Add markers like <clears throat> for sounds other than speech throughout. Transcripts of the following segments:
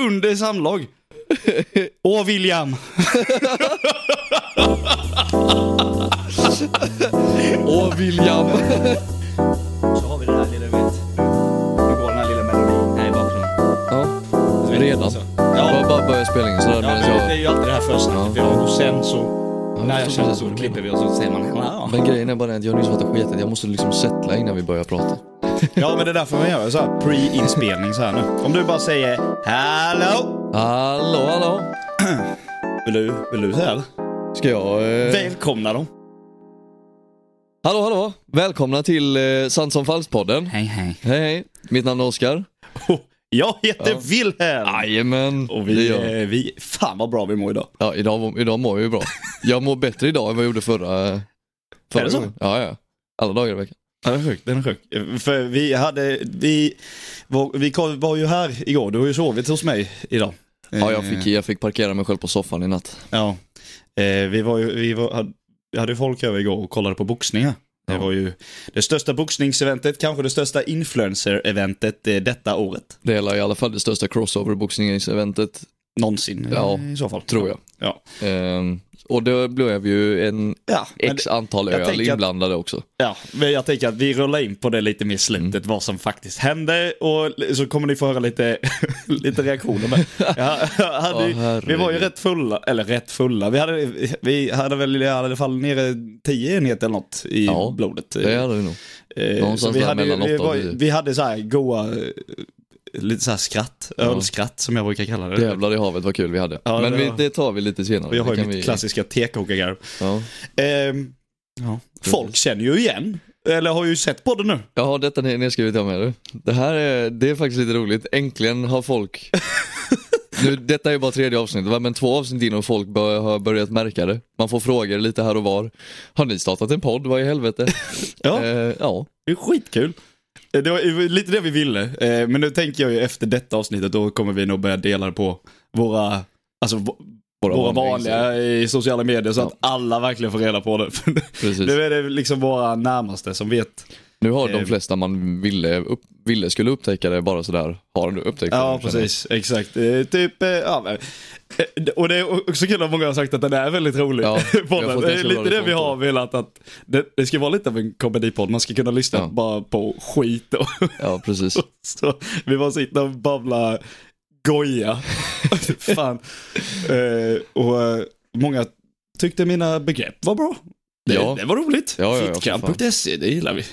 under <laughs> samlag. Åh William. Åh William. Så har vi den här lilla, du vet. Nu går den här lilla melodin. Nej, bakgrunden. Ja, Du vet, redan. alltså. Bara, Ja, bara börja spelningen sådär ja medan men det är jag... ju alltid det här försnacket vi har och sen så... När jag förstår känner precis så vad du klipper vi och så säger man ja. Men grejen är bara den att jag har nyss fattat skiten. Jag måste liksom settla innan vi börjar prata. Ja men det är därför man gör så här pre-inspelning så här nu. Om du bara säger hallå. Hallå, hallå. Vill du, vill du säga det? Ska jag... Eh... Välkomna dem. Hallå, hallå. Välkomna till eh, Sant som falskt-podden. Hej hej. Hej, hej. Mitt namn är Oskar. <laughs> Jag heter Ja. Wilhelm. Jajamän. Och det är vi, jag. eh, vi, fan vad bra vi mår idag. Ja, idag, idag mår jag ju bra. Jag mår bättre idag än vad jag gjorde förra, förra Är det så? gången. Ja, ja. Alla dagar i veckan. Den är sjuk, den är sjuk. För vi hade, vi var, vi kom- var ju här igår, du har ju sovit hos mig idag. Ja, jag Eh, fick, jag fick parkera mig själv på soffan i natt. Ja. Eh, Vi var ju, vi var, hade- vi hade ju folk över igår och kollade på boxningar. Det Ja. var ju det största boxningseventet, kanske det största influencer-eventet eh, detta året. Det är i alla fall det största crossover-boxningseventet, Någonsin Ja, eh, i så fall. tror jag. Ja. Ehm, och då blev ju en Ja, men, x antal jag öl tänker att- inblandade också. ja, men jag tänker att vi rullar in på det lite mer i slutet, Mm. vad som faktiskt hände och li- så kommer ni få höra lite, <laughs> lite reaktioner med. Ja, <laughs> jag hade ju- Åh, herregud. Vi var ju rätt fulla, eller rätt fulla, vi hade, vi hade väl i alla fall nere 10 enheter eller något i Ja, blodet. Det hade vi nog. Eh, Någonstans så vi där hade, mellan vi, åtta och var, tio. vi hade så här goa, eh, lite så här skratt, ölskratt som jag brukar kalla det. Jävlar i havet vad kul vi hade. Ja, Men det det, vi, var- det tar vi lite senare. Och jag har Det ju kan mitt vi- klassiska tekokargarv. Ja. Ehm, ja. Folk känner ju igen, eller har ju sett på det nu. Jag har detta ner- nedskrivit jag med. du. Det här är, det är faktiskt lite roligt. Äntligen <laughs> har folk... nu, detta är ju bara tredje avsnittet va? men två avsnitt in och folk bör, har börjat märka det. Man får frågor lite här och var. Har ni startat en podd? Vad i helvete? Ja. Eh, ja. Det är skitkul. Eh, Det var ju lite det vi ville, eh, men nu tänker jag ju efter detta avsnittet då kommer vi nog börja dela det på våra, alltså v- våra, vanliga i sociala medier så Ja. att alla verkligen får reda på det. <laughs> För Precis. nu är det liksom våra närmaste som vet. Nu har Eh, de flesta man ville, upp, ville skulle upptäcka det bara sådär, har du upptäckt det? Ja, nu, känner jag. precis. Exakt. Eh, Typ, eh, ja, men- eh, och det är också kul att många har sagt att den är väldigt rolig. <laughs> Ja, vi har podden. fått Det är ganska bra lite det vi respons på har velat att det, det ska vara lite av en komedipodd. Man ska kunna lyssna Ja. bara på skit och Ja, <laughs> Eh, precis. så vi bara sitter och babblar <laughs> goja. Fan. Eh, och eh, många tyckte mina begrepp var bra. Det, Ja. det var roligt. Ja, ja, ja, för Fittkamp.se, E, det gillar vi.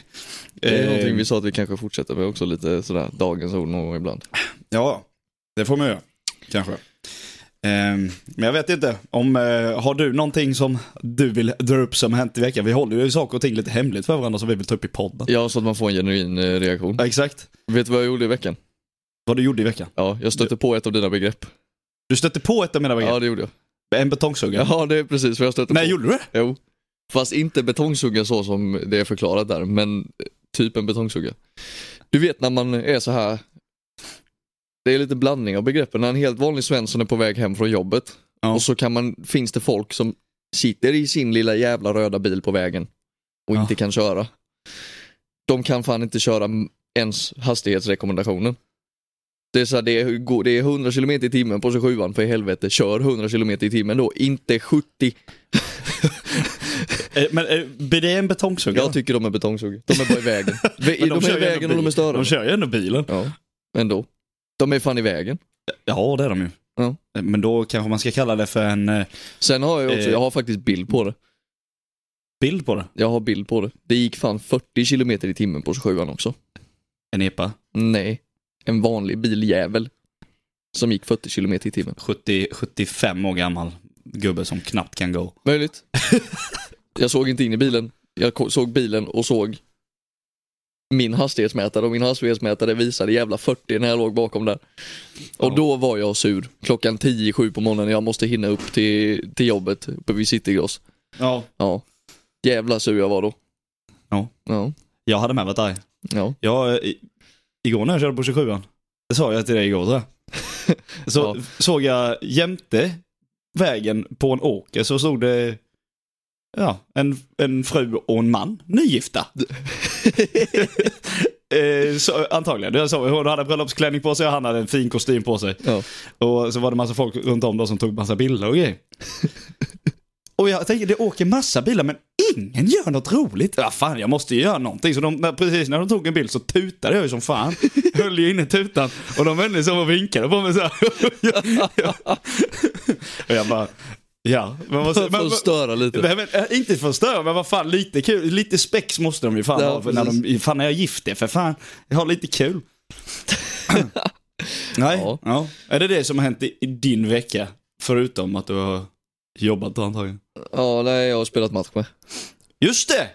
Det är Eh, någonting vi sa att vi kanske fortsätter med också lite sådär, dagens ord någon gång ibland. Ja, det får man göra. Kanske. Ehm, men jag vet inte, om, eh, har du någonting som du vill dra upp som har hänt i veckan? Vi håller ju saker och ting lite hemligt för varandra som vi vill ta upp i podden. Ja, så att man får en genuin eh, reaktion. Ja, exakt. Vet du vad jag gjorde i veckan? Vad du gjorde i veckan. Ja, jag stötte på ett av dina begrepp. Du stötte på ett av mina Ja, begrepp. det gjorde jag. En betongsuggare. Ja, det är precis vad jag stötte Nej, på. gjorde du det? Jo. Fast inte betongsuggare så som det är förklarat där, men typ en betongsuggare. Du vet när man är så här. Det är lite blandning av begreppen. När en helt vanlig svensson är på väg hem från jobbet Ja. och så kan man, finns det folk som sitter i sin lilla jävla röda bil på vägen och Ja. inte kan köra. De kan fan inte köra m- ens hastighetsrekommendationen. Det är, så här, det, är, går- det är 100 km i timmen på 27an för i helvete. Kör 100 km i timmen då, inte 70. Eh, Men eh, blir det en betongsuggare? Jag tycker de är betongsuggare. De är bara <laughs> i vägen. Vi- de, Men är kör i ju ändå vägen och de är bil. störande. De kör ju ändå bilen. Ja, ändå. De är fan i vägen. Ja, det är de ju. Ja. Eh, Men då kanske man ska kalla det för en eh, Sen har jag också, Eh. jag har faktiskt bild på det. bild på det. Jag har bild på det. Det gick fan 40 km i timmen på 27an också. En epa. Nej, en vanlig biljävel. Som gick 40 km i timmen. 70, 75 år gammal gubbe som knappt kan gå. Möjligt. <laughs> jag såg inte in i bilen. Jag ko- såg bilen och såg min hastighetsmätare och min hastighetsmätare visade jävla 40 när jag låg bakom där. Och Ja. då var jag sur. Klockan 10-7 på morgonen, jag måste hinna upp till, till jobbet uppe vid Citygross. Ja. Ja. Jävla sur jag var då. Ja. Ja. Jag hade med varit arg. Ja. Jag, eh, i, igår när jag körde på 27an, det sa jag till dig igår tror jag. <laughs> Så Ja. såg jag jämte vägen på en åker så stod det ja, en, en fru och en man, nygifta. Eh, så, antagligen. Det var så. Hon hade bröllopsklänning på sig och han hade en fin kostym på sig. Ja. Och så var det massa folk runt om då som tog massa bilder och <laughs> grejer. Och jag tänker, det åker massa bilar men ingen gör något roligt. Ja, fan, jag måste ju göra någonting. Så de, när, precis när de tog en bild så tutade jag ju som <laughs> fan. Höll ju inne tutan. Och de vände sig om och vinkade på mig så här. <laughs> Ja, ja. <laughs> Och jag bara, ja. <laughs> Men vad- För men- att störa lite. Nej, men, eh, inte för att störa, men vad fan lite kul. Lite spex måste de ju fan Ja, ha. För när de, precis. fan är jag gift det för fan. Jag har lite <laughs> kul. Nej, ja. Ja. Är det det som har hänt i, i din vecka? Förutom att du har jobbat antagligen. Ja, nej, jag har spelat match med. Just det!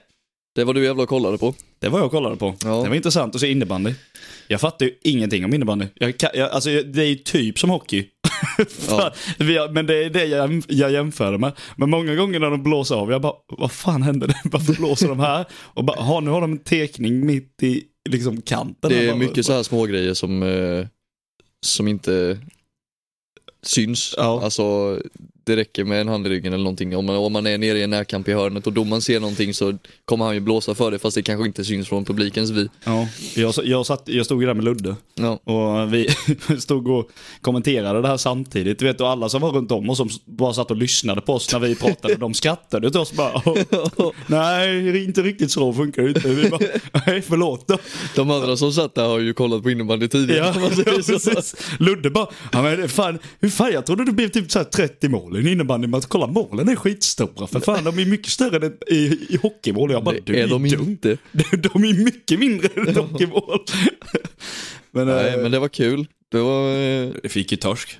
Det var du jävla och kollade på. Det var jag och kollade på. Ja. Det var intressant att se innebandy. Jag fattar ju ingenting om innebandy. Jag kan, jag, alltså, jag- det är ju typ som hockey. <laughs> Ja. Vi har- Men det är det jag, jag jämför det med. Men många gånger när de blåser av, jag bara, vad fan hände <laughs> det? Varför blåser de här? Och bara, "Jaha, nu har de en tekning mitt i liksom kanten. Det Jag är bara, mycket så här små grejer som, eh, som inte syns. Ja. Alltså, det räcker med en hand i ryggen eller någonting. Om man, om man är nere i en närkamp i hörnet och domaren ser någonting så kommer han ju blåsa för det fast det kanske inte syns från publikens vi. Ja, jag, s- jag, satt, jag stod ju där med Ludde. Ja. Och vi <laughs> stod och kommenterade det här samtidigt. Du vet, och alla som var runt om och som s- bara satt och lyssnade på oss när vi pratade, de skrattade åt oss <laughs> bara. Nej, det är inte riktigt så funkar det inte. Vi bara, nej förlåt då. De andra som satt där har ju kollat på innebandy tidigare. Ja, om man säger <laughs> ja, så. precis. Ludde bara, ja, men fan, hur fan, jag trodde det blev typ så här 30 mål i en innebandymatch. Kolla målen är skitstora för fan, de är mycket större än i, i hockeymål. Jag bara, Det du är är, de dum. inte. <laughs> De är mycket mindre än ett hockeymål. <laughs> Men, Nej, eh, men det var kul. Det var... eh, det fick ju torsk.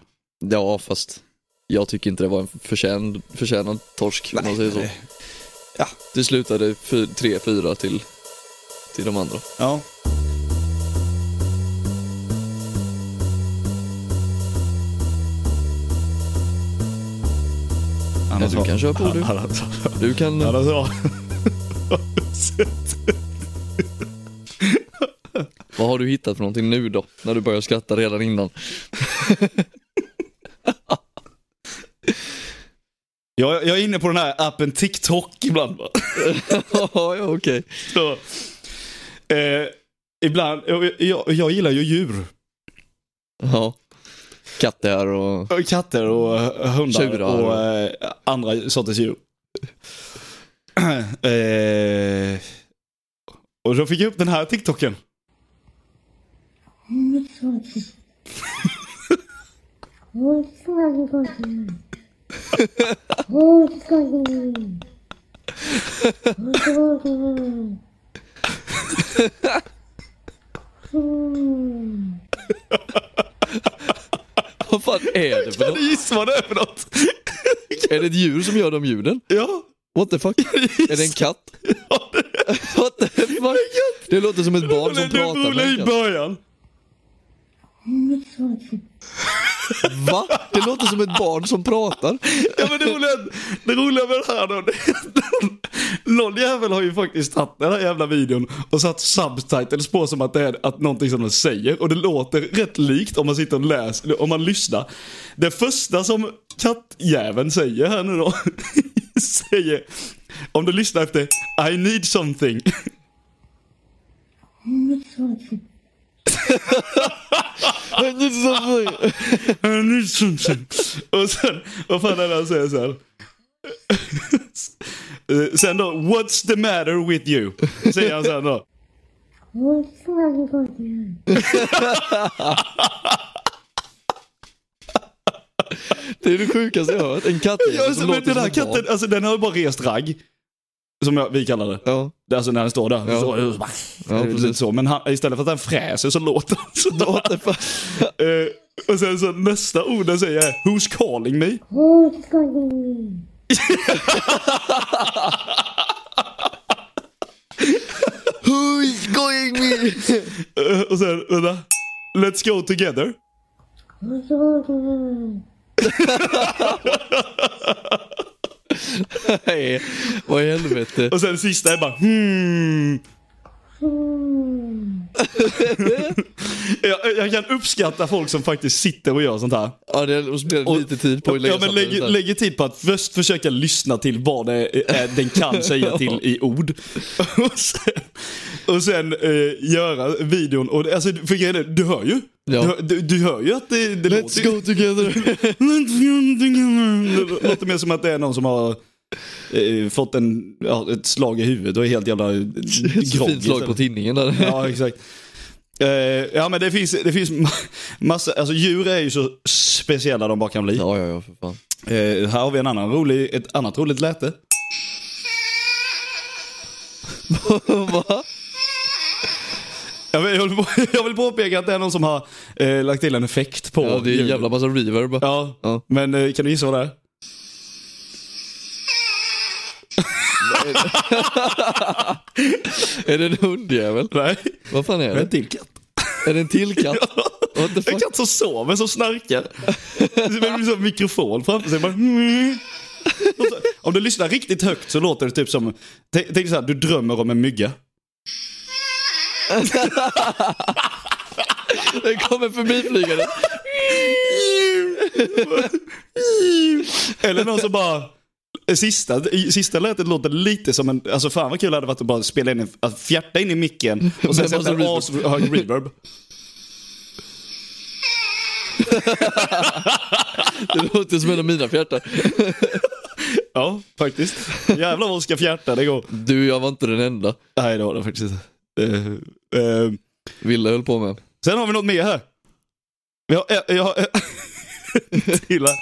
Ja, fast jag tycker inte det var en förtjän, förtjänad torsk om man säger så. nej. Ja. Det slutade fy- 3-4 till, till de andra. Ja. du har- kan köra på, du. Annars, har- Du kan... annars <laughs> har- har du sett- Vad har du hittat för någonting nu då? När du börjar skratta redan innan. <laughs> jag, jag är inne på den här appen TikTok ibland. va? ja, okej. Så, eh, ibland, jag, jag, jag gillar ju djur. Ja. Katter och... <laughs> Och Katter och eh, hundar Tjurar. och eh, andra sorters djur. eh, och då fick jag upp den här TikToken. Muito forte. Muito forte, Godinho. Muito Godinho. Muito Godinho. Hum. Vad fan är det för Kan något? du gissa vad det är för något? Är det ett djur som gör de ljuden? ja, What <laughs> the fuck? Är det en katt? <laughs> ja, det är What the fuck? Det låter som ett barn som det pratar roliga med i en katt. början. Va? Det låter som ett barn som pratar. Ja, men det, roliga, det roliga med det här då, det är att någon, någon jävel har ju faktiskt tagit den här jävla videon och satt subtitles på som att det är att någonting som de säger. Och det låter rätt likt om man sitter och läser, om man lyssnar. Det första som kattjäveln säger här nu då, <laughs> säger, om du lyssnar efter, I need something. I need something. Och sen, vad fan är det han säger sen? Eh, Sen då, what's the matter with you? Säger han sen då. Muito forte, Godinho. <laughs> Det är det sjukaste jag har hört. En katt Ja, alltså, som men låter den som här ett barn. katten, alltså den har ju bara rest ragg. Som jag, vi kallar det. Ja. Det är Alltså när den står där. Ja. Så, så bara, Ja, lite precis. så. Men han, istället för att den fräser så låter han sådär. What the fuck? Eh, och sen så nästa ord den säger är Who's calling me? Muito Godinho. Who is going me? Eh, och sen, vänta. Let's go together. Muito Godinho. Nej, <laughs> vad i helvete. Och sen sista är bara hmm. Hum. Jag, jag kan uppskatta folk som faktiskt sitter och gör sånt här. Ja, det har spenderat lite tid på att lägga ja, men samman det lägger, där. lägger tid på att först försöka lyssna till vad det, är eh, den <laughs> kan säga till i ord. Och sen, och sen eh, göra videon. Och, det- alltså, för grejen är, du hör ju. Ja. Du, hör- du, du hör ju att det, det Let's låter... go together. <laughs> Det låter mer som att det är någon som har eh, fått en, ja, ett slag i huvudet och är helt <laughs> jävla Så groggy. Fint slag på tinningen där. <laughs> Ja, exakt. Eh, ja, men det finns, det finns ma- massa, alltså djur är ju så speciella de bara kan bli. Ja, ja, ja, för fan. Eh, här har vi en annan rolig, ett annat roligt läte. <laughs> Va? Jag vill, jag, vill, på- <laughs> jag vill påpeka att det är någon som har eh, lagt till en effekt på Ja, det är en ljudet. jävla massa reverb. Ja, Ja. men eh, kan du gissa vad det är? Är det en hundjävel? Nej, Vad fan är det är <laughs> en det? till katt. Är det en till katt? What the En fuck? katt som sover, som snarkar. Det är liksom en mikrofon framför sig. Bara... mm. Och så- Om du lyssnar riktigt högt så låter det typ som, tänk, tänk så här, du drömmer om en mygga. Den kommer förbi flygande. Eller någon som bara... Sista, i- sista lätet låter lite som en, alltså fan vad kul det hade varit att bara spela in, en, att fjärta in i micken och sen Men sätta massa en reverb. ashög reverb. Det låter som en av mina fjärtar. Ja, faktiskt. Jävlar vad hon ska fjärta, det går. Du, jag var inte den enda. Nej det var det faktiskt inte. Eh, eh, Ville höll på med. Sen har vi något mer här. Vi har, eh, <laughs> jag har, eh, till här.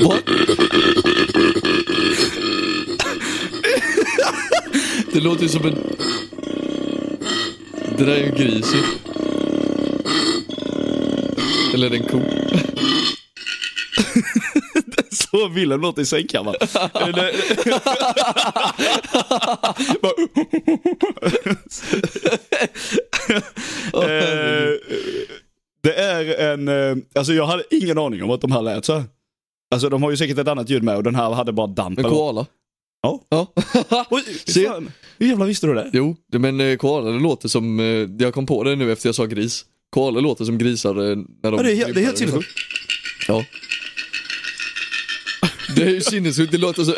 What? Det låter ju som en... Det där är ju en gris ju. Eller är det en ko? <laughs> Så Wilhelm låter i <laughs> sängkammaren. Eller- <laughs> Bara- Eh, Det är en, eh, alltså jag hade ingen aning om att de här lät så här. Alltså de har ju säkert ett annat ljud med och den här hade bara damp. En eller- koala? Ja. Ja. <laughs> Oj, Se. fan. Hur jävla visste du det? Jo, det- men eh, koala det låter som... eh, Jag kom på det nu efter jag sa gris. Koala låter som grisar eh, när de... Ja, det är helt- det är helt grimpar. Ja. Det är ju sinnessjukt, det <laughs> låter så...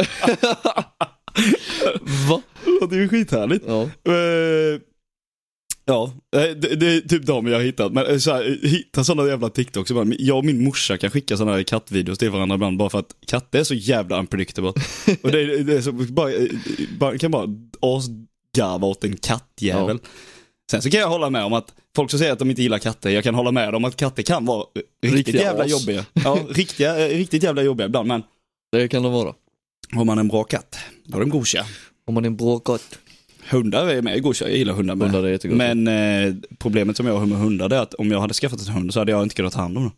Va? Det låter ju skithärligt. Ja. Eh, ja, eh, det, det är typ de jag har hittat. Men eh, så här, eh, hitta sådana jävla TikToks. ibland. Jag och min morsa kan skicka sådana här kattvideos till varandra ibland bara för att katter är så jävla <laughs> unpredictable. och det, är- det är så, bara, eh, bara, kan bara asgarva åt en kattjävel. Sen så kan jag hålla med om att folk som säger att de inte gillar katter, jag kan hålla med om att katter kan vara eh, riktigt Riktiga jävla as. jobbiga. <laughs> Ja, riktiga, eh, riktigt jävla jobbiga ibland. Men Det kan de vara. har man en bra katt, då är de gosiga. Om man är en bra katt. Hundar är med gosiga, jag gillar hundar med. Hundar är jättegott. Men eh, problemet som jag har med hundar det är att om jag hade skaffat en hund så hade jag inte kunnat ta hand om den.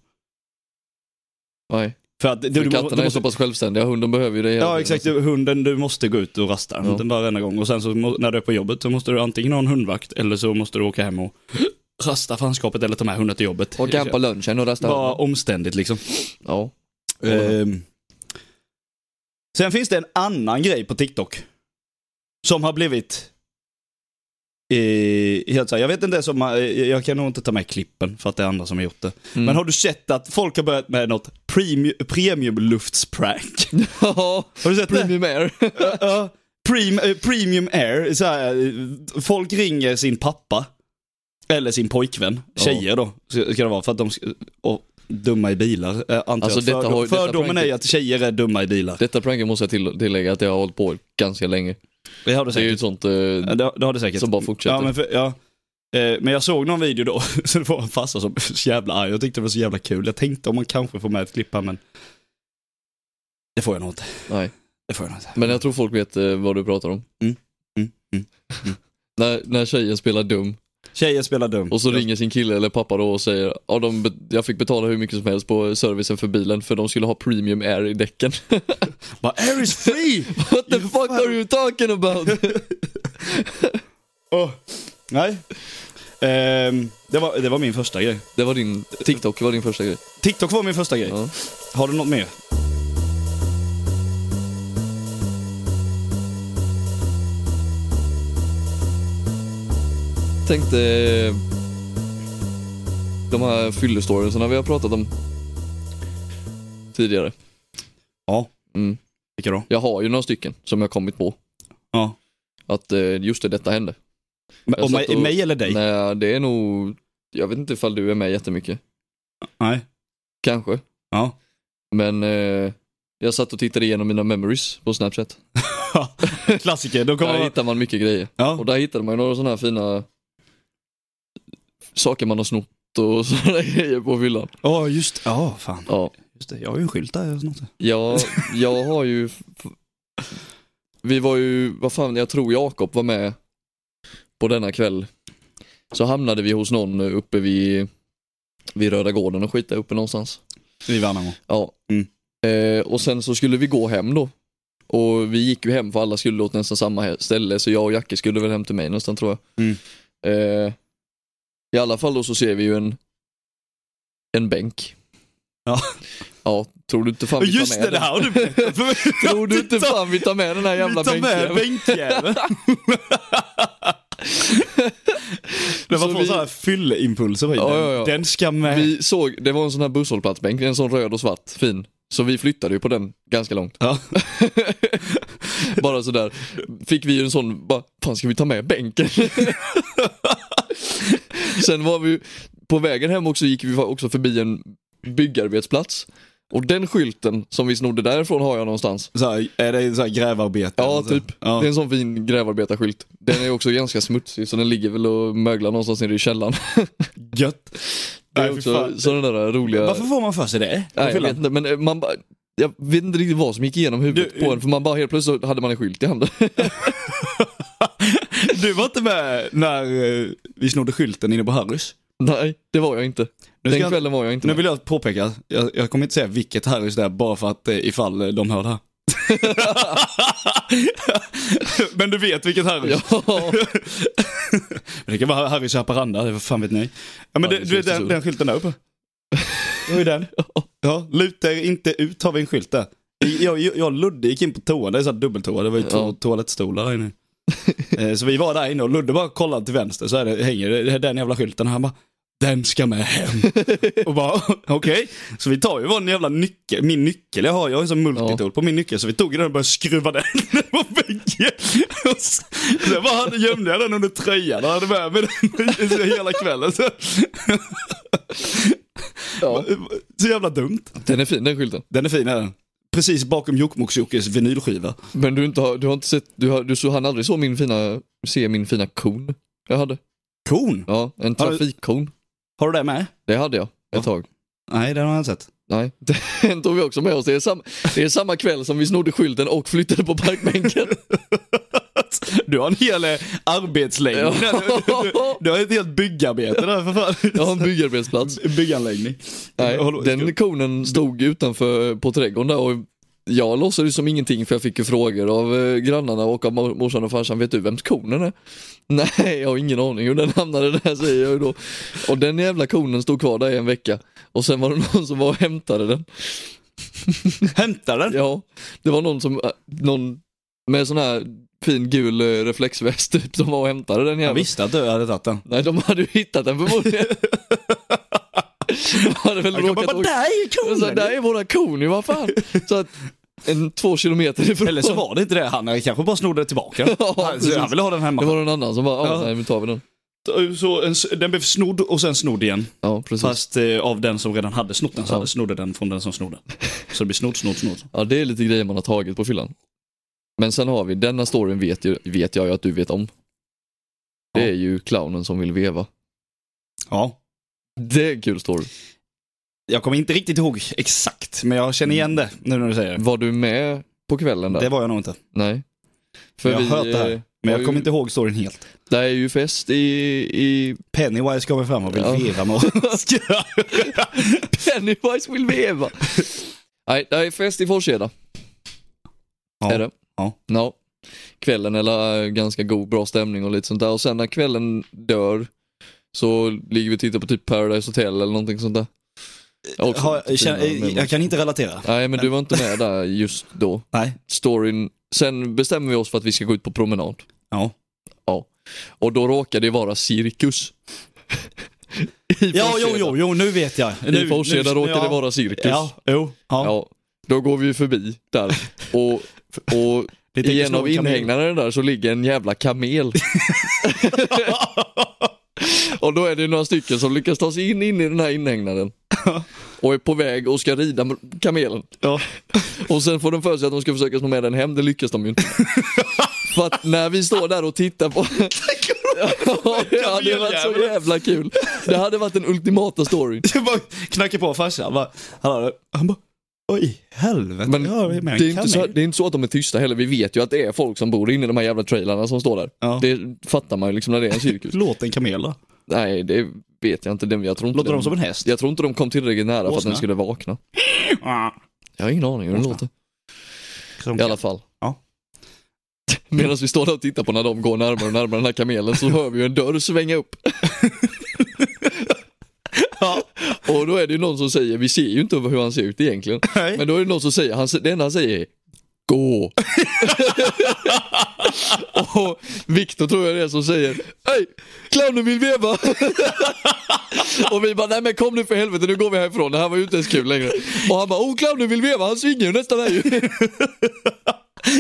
Nej. För att du, För du, katterna måste- du är måste, så pass självständiga, hunden behöver ju det hela Ja tiden. exakt, du, hunden, du måste gå ut och rasta Ja. den varenda gång. Och sen så må, när du är på jobbet så måste du antingen ha en hundvakt eller så måste du åka hem och rasta fanskapet eller ta med hunden till jobbet. Och campa lunchen och rasta Bara hunden. omständigt liksom. Ja. Ehm. Sen finns det en annan grej på TikTok. Som har blivit... Eh, helt så här, jag vet inte ens om man, eh, jag kan nog inte ta med klippen för att det är andra som har gjort det. Mm. Men har du sett att folk har börjat med något premium, premium luftsprank? <laughs> Ja, <laughs> Har du sett det? <laughs> premium air. Ja, ja. Prem, eh, premium air, så här, eh, folk ringer sin pappa. Eller sin pojkvän, Ja. tjejer då, ska ska det vara, för att de ska, och dumma i bilar. eh, Antar Alltså, jag. detta Fördom, har ju- detta fördomen är ju pranket- att tjejer är dumma i bilar. Detta pranket måste jag till, tillägga att jag har hållit på ganska länge. Det har du Det är ju säkert. ett sånt... eh, Ja, Det, det har du säkert. Som bara fortsätter. Ja, men, för, ja. Eh, men jag såg någon video då, <laughs> så det var en farsa som var så jävla arg. Jag tyckte det var så jävla kul. Jag tänkte om man kanske får med ett klipp här, men det får jag nog inte. Nej. Det får jag nog inte. Men jag tror folk vet eh, vad du pratar om. Mm, mm, mm, <laughs> när, när tjejen spelar dum Tjejer spelar dum. och så Ja. ringer sin kille eller pappa då och säger ja, de, be- jag fick betala hur mycket som helst på servicen för bilen för de skulle ha premium air i däcken. <laughs> Bara, air is free! What the You fuck are you talking about? Åh, Nej. Ehm, det, var, det var min första grej. det var din, TikTok var din första grej. TikTok var min första grej. Ja. Har du något mer? tänkte... eh, De här fyllestoriesarna vi har pratat om tidigare. Ja, Mm. vilka då? Jag har ju några stycken som jag kommit på. Ja. Att eh, just det, detta hände. Men, Jag och mig, satt och- mig eller dig? Nej. Nej, det är nog... Jag vet inte ifall du är med jättemycket. Kanske. Ja. Men eh, jag satt och tittade igenom mina memories på Snapchat. Klassiker, då kommer Där man... hittar man mycket grejer. Ja, Och där hittade man ju några sådana här fina saker man har snott och <laughs> sådana grejer på fyllan. Ja, just Ja, fan. Ja, Just det, jag har ju en skylt där. eller något. jag, jag har ju... Vi var ju, vad fan, jag tror Jakob var med på denna kväll. Så hamnade vi hos någon uppe vid, vid Röda Gården och skit där uppe någonstans. I Värnamo. Ja. Mm. Eh, och sen så skulle vi gå hem då. Och vi gick ju hem för alla skulle åt nästan samma he- ställe så jag och Jacke skulle väl hem till mig nästan tror jag. Mm. Eh, I alla fall då så ser vi ju en, en bänk. Ja. Ja, tror du inte fan vi tar Just med det, det här har du berättat för mig. den? Tror du inte Vi tar- fan vi tar med den här jävla Vi tar med bänken? <laughs> bänkjäveln. det var Så två vi- sådana här fylleimpulser på Ja, den. ja, ja. Den ska med. Vi såg, det var en sån här busshållplatsbänk, en sån röd och svart, fin. Så vi flyttade ju på den ganska långt. Ja. <laughs> bara sådär. Fick vi en sån, bara, fan ska vi ta med bänken? <laughs> Sen var vi, på vägen hem också gick vi också förbi en byggarbetsplats. Och den skylten som vi snodde därifrån har jag någonstans. Så här, är det så här grävarbete? Ja, Eller så? typ. Ja. Det är en sån fin grävarbetarskylt. Den är också ganska smutsig så den ligger väl och möglar någonstans nere i källaren. Gött. Det är Nej, fy också fan. sådana där roliga... Varför får man för sig det? Nej, jag Fylla. vet inte, men eh, man bara... Jag vet inte riktigt vad som gick igenom huvudet Du- eh, på en, för man bara helt plötsligt så hade man en skylt i handen. <laughs> Du var inte med när eh, vi snodde skylten inne på Harrys? Nej, det var jag inte. Nu, ska Den jag, kvällen var jag inte nu med. vill jag påpeka, jag, jag kommer inte säga vilket Harrys det är bara för att eh, ifall eh, de hör det här. <laughs> Men du vet vilket Harrys? <laughs> Ja, <laughs> Men Det kan vara Harrys i Haparanda, det vad fan vet ni? Ja men Ja, det, det du vet den, känns så. den skylten där uppe? Det var ju den. <laughs> Ja, luta er inte ut har vi en skylt där. Jag, jag, jag och Ludde gick in på toan, det är så här dubbeltoa, det var ju to, Ja. toalettstolar där inne. Eh, Så vi var där inne och Ludde bara kollade till vänster så är det, hänger det, det är den jävla skylten och han bara den ska med hem. Och bara okej. Så vi tar ju vår jävla nyckel, min nyckel jag har, jag har en sån multitool på min nyckel. Så vi tog den och började skruva den <laughs> på bägge. Och s- Sen bara hade- gömde jag den under tröjan och hade med mig den i- i hela kvällen. Så, ja. så jävla dumt. Den är fin den skylten. Den är fin är den. Precis bakom Jokkmokks-Jockes vinylskiva. Men du, inte har, du har inte sett, du, har, du så, han aldrig så min fina, se min fina kon jag hade. Kon. Ja, en Har du- trafikkon. Har du det med? Det hade jag Ja. ett tag. Nej, den har jag inte sett. Nej, <laughs> den tog vi också med oss. Det är, samma, det är samma kväll som vi snodde skylten och flyttade <laughs> på parkbänken. Du har en hel eh, arbetslängd. Ja. <laughs> Du, du, du har ett helt byggarbete där för fan. Jag har en byggarbetsplats. Bygganläggning. Nej, Håll- den konen stod utanför på trädgården där och jag låtsades som ingenting för jag fick ju frågor av eh, grannarna och av mor- morsan och farsan, vet du vems konen är? <laughs> Nej, jag har ingen aning hur den hamnade där säger jag ju då. Och den jävla konen stod kvar där i en vecka och sen var det <laughs> någon som var och hämtade den. Hämtar den. Ja, det var någon som, eh, någon med sån här fin gul eh, reflexväst typ som var och hämtade den Jag jäveln. visste att du hade tagit den. Nej, de hade ju hittat den förmodligen. de hade väl Jag kan råkat bara, åka där är och så, konen! där är våra kon ju, vad fan. <laughs> Så att, en två kilometer ifrån. Eller så var det inte det, han kanske bara snodde tillbaka den. <laughs> Ja, Han- så precis. Han ville ha den det hemma. var någon annan som bara, ja, Ja. nej men tar vi den. Så en s- den blev snodd och sen snodd igen. Ja, precis. Fast eh, av den som redan hade snott den så Mm. Ja. hade snodde den från den som <laughs> snodde. Så det blir snodd, snodd, snodd. Ja, det är lite grejer man har tagit på fyllan. Men sen har vi, denna storyn vet, ju, vet jag ju att du vet om. Ja. Det är ju clownen som vill veva. Ja. Det är en kul story. Jag kommer inte riktigt ihåg exakt, men jag känner igen Mm. det nu när du säger det. Var du med på kvällen där? Det var jag nog inte. Nej. Jag har hört det här, eh, Men har jag kommer ju- inte ihåg storyn helt. Det är ju fest i, i... Pennywise kommer fram och vill Ja. veva <laughs> med oss. Pennywise vill veva! Nej, det är fest i Forsheda. Ja. Är det? Ja. Ja. Kvällen eller äh, ganska god, bra stämning och lite sånt där. Och sen när kvällen dör så ligger vi och tittar på typ Paradise Hotel eller någonting sånt där. Jag har också Har, lite jag, känner, fina jag, minnen. kan inte relatera. Nej men du var inte med där just då. Nej. Storyn, sen bestämmer vi oss för att vi ska gå ut på promenad. Ja. Ja. Och då råkade det vara cirkus. I Ja, jo, Forsheda. jo, jo, nu vet jag. Nu, I Forsheda råkade ja. det vara cirkus. Ja, jo. Ja. Ja, då går vi ju förbi där och, <laughs> och Det tänker i en slå av en kamel. inhägnaderna där så ligger en <laughs> jävla kamel. och då är det några stycken som lyckas ta sig in, in i den här <laughs> inhägnaden. Och är på väg och ska rida med kamelen. Ja. <laughs> Och sen får de för sig att de ska försöka sno med den hem, det lyckas de <laughs> ju inte. för att när vi står där och tittar på... <laughs> ja, det hade varit så jävla kul. Det hade varit den ultimata storyn. Jag bara knackar på farsan. Han bara, hallå. han bara, oj helvete. Men ja, men det, jag är kan inte så, mig. det är inte så att de är tysta heller, vi vet ju att det är folk som bor inne i de här jävla trailarna som står där. Ja. Det fattar man ju liksom när det är <laughs> en cirkus. Låt en kamel då. Nej, det vet jag inte. Det- Jag tror inte Låter de- de som en häst? Jag tror inte de kom tillräckligt nära för att Åsna. den skulle vakna. Jag har ingen aning hur den Åsna. låter. Som I alla fall. Ja. <laughs> Medan vi står där och tittar på när de går närmare och närmare den här kamelen så hör vi ju en dörr svänga upp. Ja. Och då är det ju någon som säger, vi ser ju inte hur han ser ut egentligen. Nej. Men då är det någon som säger, han, det enda han säger är <laughs> Gå! och Viktor tror jag det är som säger Hej! Clownen vill <laughs> veva! och vi bara, nej men kom nu för helvete, nu går vi härifrån, det här var ju inte ens kul längre. Och han bara, oh clownen vill veva, han svingar ju nästan här ju.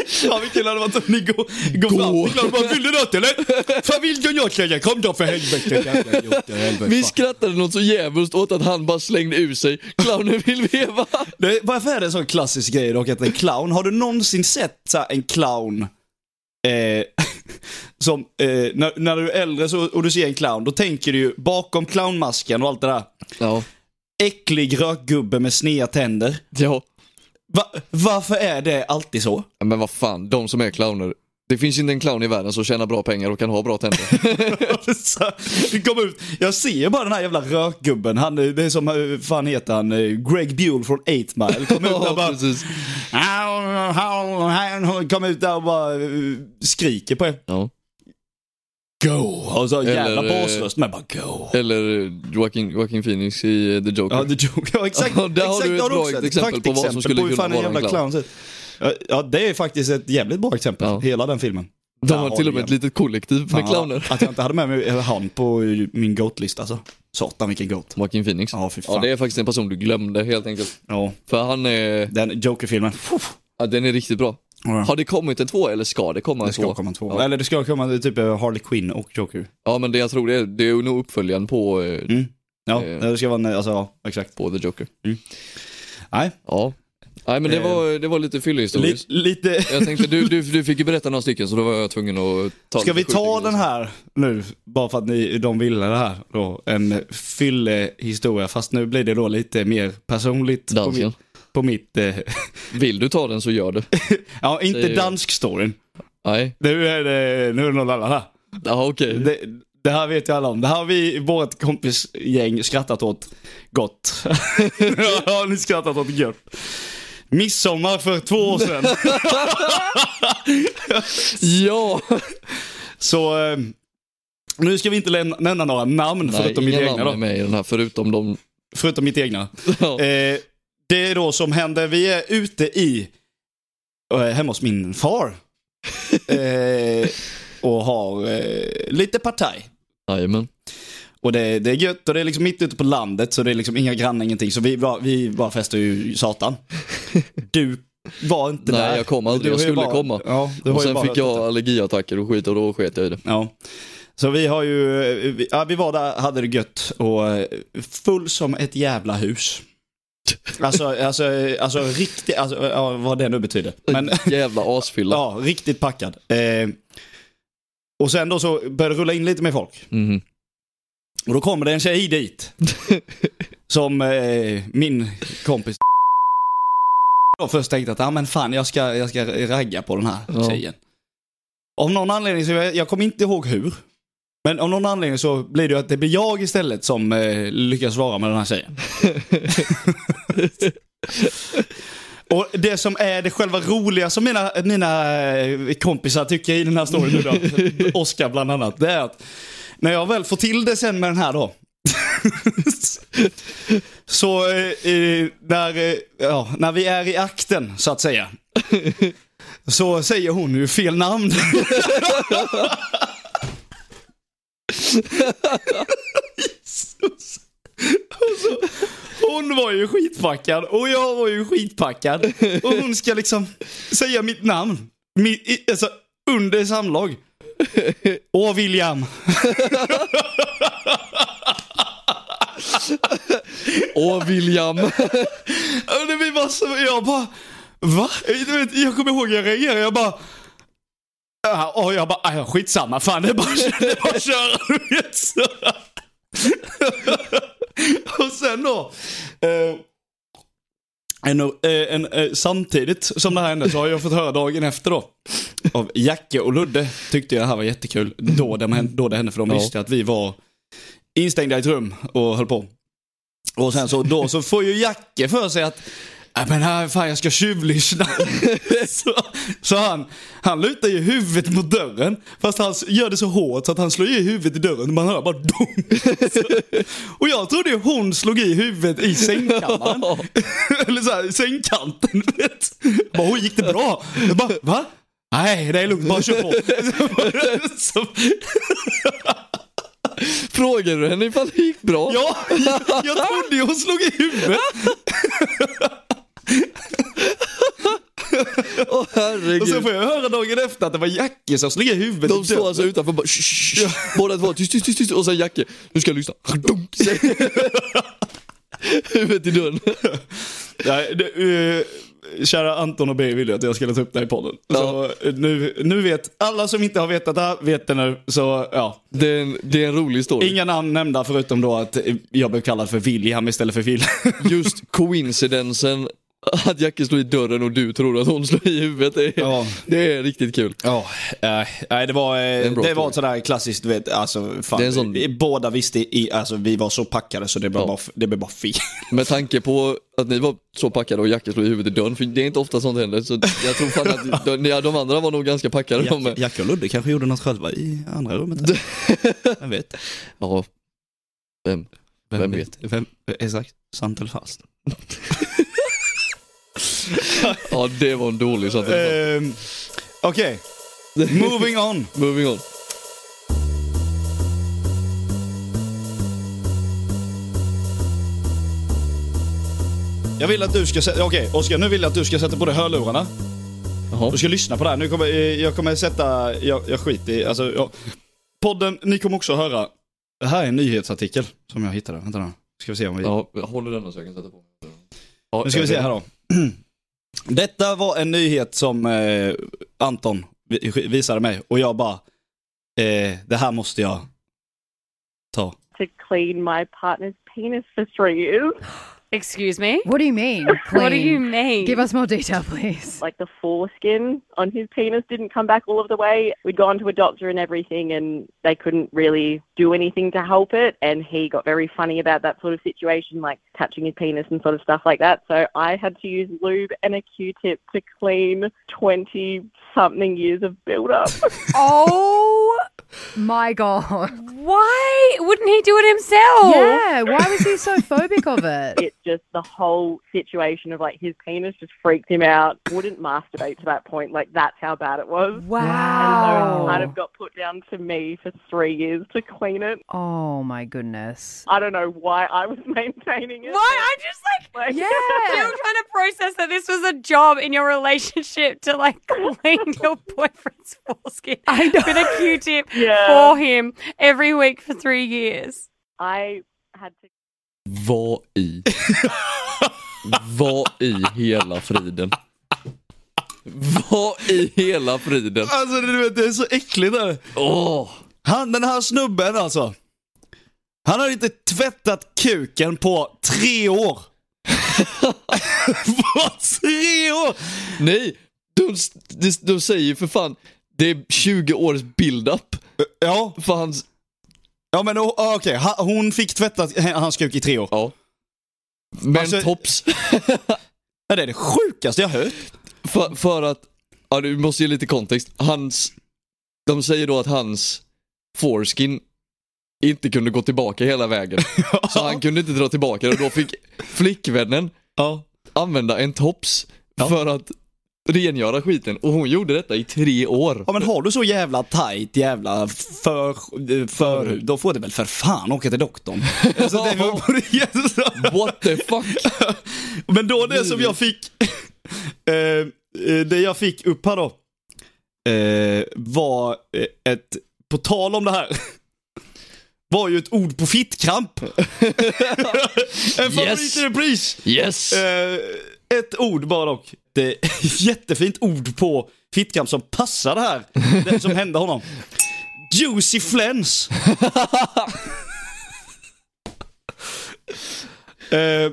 Fan vilken hade varit om ni går, går fram till klubben och bara, vill du något eller? Fan vill du något eller? Kom då för helvete. jävla idiot, helvete. Vi skrattade något så jävligt åt att han bara slängde ur sig, clownen vill veva. Det, varför är det en sån klassisk grej dock att en clown, har du någonsin sett så här, en clown eh, <laughs> som, eh, när, när du är äldre så, och du ser en clown, då tänker du ju bakom clownmasken och allt det där, Ja. äcklig rökgubbe med sneda tänder. ja. Va, varför är det alltid så? Men vad fan, de som är clowner. Det finns inte en clown i världen som tjänar bra pengar och kan ha bra <laughs> tänder. Så, vi kom ut, jag ser bara den här jävla rökgubben, han, eh, det är som, eh, fan heter han, eh, Greg Buell från 8 Mile. Kom ut där och bara, precis. kom ut där och bara eh, skriker på er. Ja. Go! Och så jävla Eller, eh, basröst med bara go. Eller eh, Joaquin, Joaquin Phoenix i eh, The Joker. Ja, det joke. ja exakt. Ja, där har exakt du ett det bra också exempel på vad praktexempel som skulle på hur kunna fan en vara en jävla clown. ser ut. Ja, Ja, det är faktiskt ett jävligt bra exempel, Ja. hela den filmen. De Där har har till du och med ett igen. litet kollektiv med Fan, clowner. Att jag inte hade med mig han på min goat-lista alltså. Satan vilken goat. Joaquin Phoenix. Ja, fy fan. Ja, det är faktiskt en person du glömde helt enkelt. Ja, För han är, den Joker-filmen. Fuff. ja, den är riktigt bra. Ja. Har det kommit en två eller ska det komma en Det ska två? komma två. Ja. Eller det ska komma typ Harley Quinn och Joker. ja, men det jag tror det är, det är nog uppföljaren på, eh, Ja, Eh. det ska vara, en- alltså ja, exakt. på The Joker. Nej, Ja. Nej, men det Eh, var, det var lite li, fyllehistoriskt. lite... Jag tänkte, du, du, du fick ju berätta några stycken så då var jag tvungen att ta Ska lite vi ta skjuting. den här nu, bara för att ni, de ville det här då? En fyllehistoria, fast nu blir det då lite mer personligt på Dansken. mitt, på mitt eh, <laughs> Vill du ta den så gör det. ja inte Säger jag. dansk-storyn. Nej, Nu är det, nu är det någon annan här. ja okej. Det, det här vet ju alla om. Det här har vi, vårt kompisgäng, skrattat åt <laughs> gott. ja, har ni skrattat åt gött. Midsommar för två år <laughs> sedan. Ja! Så eh, nu ska vi inte lämna, nämna några namn förutom mitt inga egna namn är då. med i den här förutom de... <laughs> Förutom mitt egna. Ja. Eh, det är då som händer, vi är ute i, eh, hemma hos min <laughs> far. Eh, och har eh, lite partaj. Jajamän. Och det, det är gött och det är liksom mitt ute på landet så det är liksom inga grannar, ingenting. Så vi bara, vi bara festar ju <laughs> satan. Du var inte Nej, där. jag kom aldrig. Du har Jag ju skulle bara- komma. Ja, du Och har ju sen bara fick hört jag detta. allergiattacker och skit och då sket jag i det. Ja. Så vi har ju, eh, vi, ja, vi var där, hade det gött och eh, full som ett jävla <laughs> hus. Alltså, alltså, eh, alltså riktigt, alltså, ja, vad det nu betyder. Men <laughs> Jävla asfylla. ja, riktigt packad. Eh, och sen då så började det rulla in lite med folk. Mhm. Och då kommer det en tjej dit. som eh, min kompis då först tänkte att, ja men fan jag ska, jag ska ragga på den här Ja. tjejen. Av någon anledning, så jag, jag kommer inte ihåg hur. Men av någon anledning så blir det ju att det blir jag istället som eh, lyckas vara med den här tjejen. Och det som är det själva roliga som mina, mina eh, kompisar tycker i den här storyn nu då, Oskar bland annat, det är att när jag väl får till det sen med den här då. så eh, eh, när, eh, ja, när vi är i akten så att säga. Så säger hon ju fel namn. Hon var ju skitpackad och jag var ju skitpackad. Och hon ska liksom säga mitt namn. Mitt, i- alltså, under samlag. Åh William. Åh <laughs> William! Och det blir bara så, jag bara, va? Du vet, Jag kommer ihåg jag reagerade, jag bara, ja, och jag bara, ja, skitsamma, fan det är bara, det är bara att köra. du vet, så. <laughs> och sen då, eh, en, eh, en, eh, samtidigt som det här hände så har jag fått höra dagen efter då. Av Jacke och Ludde tyckte jag det här var jättekul då det, hände- då det hände för de Ja. visste att vi var instängda i ett rum och höll på. Och sen så då så får ju Jacke för sig att Ja men här, fan jag ska tjuvlyssna. <laughs> så, så han, han lutar ju huvudet mot dörren. Fast han s- gör det så hårt så att han slår i huvudet i dörren. Man hör bara dong. Så- <laughs> Och jag trodde ju hon slog i huvudet i sängkammaren. <laughs> Eller så här, sängkanten. du Vet. Jag Bara, "Oj, gick det bra? Jag bara, va? Nej, det är lugnt, bara kör på. <laughs> Så, Frågar du henne ifall det gick bra? ja, jag trodde ju hon slog i huvudet. Åh Och sen herregud. får jag höra dagen efter att det var Jackie som slog i huvudet De i står dörren. alltså utanför bara "Shh, shh, shh." Båda två tyst, tyst, tyst, tyst och sen Jacke, nu ska jag lyssna. Dunk, säger- <laughs> Huvudet i dörren. Nej, det, eh, kära Anton och B ville att jag skulle ta upp det här i podden. Ja. Så eh, nu, nu vet alla som inte har vetat det här, vet det nu. Så ja, Det är en, det är en rolig story. inga namn nämnda förutom då att eh, jag blev kallad för William istället för Phil. Just coincidensen att Jacke slår i dörren och du tror att hon slår i huvudet. Det är, Ja. det är riktigt kul. <laughs> Ja, eh, nej det var, eh, en bra det var story. ett sådär klassiskt, du vet, alltså fan, Det är en sån- vi, båda visste, i, alltså vi var så packade så det blev Ja. bara, det blev bara fel. Med tanke på att ni var så packade och Jacke slog i huvudet i dörren, för det är inte ofta sånt händer. Så jag tror <laughs> fan att de, ja, de andra var nog ganska packade de med. Jack och Ludde kanske gjorde något själva i andra rummet. <laughs> Vem vet? Ja. Vem? Vem vet? Vem, exakt, sant eller falskt? Ja, det var en dålig sånt. Ehm, Okej, moving on. Moving on. Jag vill att du ska sätta, okej Oskar, nu vill jag att du ska sätta på dig hörlurarna. Jaha. Du ska lyssna på det här. Nu kommer, eh, jag kommer sätta, jag, jag skiter i, alltså jag, podden, ni kommer också höra. Det här är en nyhetsartikel som jag hittade, vänta nu. Ska vi se om vi... Ja, jag håller den så jag kan sätta på mig. Ja, Nu ska vi se eh, här då. <clears throat> Detta var en nyhet som eh, Anton vi- visade mig och jag bara, eh, det här måste jag ta. to clean my partner's penis for you. Excuse me? What do you mean? <laughs> What do clean? you mean? Give us more detail, please. Like the foreskin on his penis didn't come back all of the way. We'd gone to a doctor and everything, and they couldn't really do anything to help it. And he got very funny about that sort of situation, like touching his penis and sort of stuff like that. So I had to use lube and a Q-tip to clean 20 something years of build-up. <laughs> Oh, My God. why wouldn't he do it himself? Yeah. Why was he so phobic <laughs> of it? it just the whole situation of like his penis just freaked him out. Wouldn't masturbate to that point. Like that's how bad it was. Wow. And so it kind of got put down to me for three years to clean it. Oh my goodness. I don't know why I was <laughs> maintaining it. What? I'm just like, Like, Yeah. still trying to process that this was a job in your relationship to like <laughs> clean your boyfriend's foreskin I know. with a Q-tip <laughs> Yeah. for him every week for three years. <laughs> I had to Vad i? Vad i hela friden? Vad i hela friden? Alltså du vet, det är så äckligt där. Åh! Han, den här snubben alltså. Han har inte tvättat kuken på tre år. <laughs> på tre år! Nej! De, de, de säger ju för fan, det är 20 års build-up Ja, för hans... ja men o- okej. Ha- Hon fick tvätta h- hans kuk i tre år. Ja. Men Alltså- tops. <laughs> Ja, Det är det sjukaste jag hört. För, för att, ja du måste ge lite kontext. Hans, de säger då att hans foreskin inte kunde gå tillbaka <laughs> hela vägen. Så han kunde inte dra tillbaka det och då fick flickvännen Ja. använda en tops för att rengöra skiten och hon gjorde detta i tre år. Ja men har du så jävla tight jävla för, förhud, då får det väl för fan åka till doktorn. Alltså, det var på det- så- What the <laughs> fuck? men då det som jag fick, <laughs> eh, eh, det jag fick upp här då, eh, var eh, ett, på tal om det här, <laughs> var ju ett ord på fittkramp. <laughs> en favoritrepris. Yes! Eh, ett ord bara dock. Det är <laughs> jättefint ord på Fittkamp som passar det här. Det som hände honom. Juicy flens. <laughs> eh,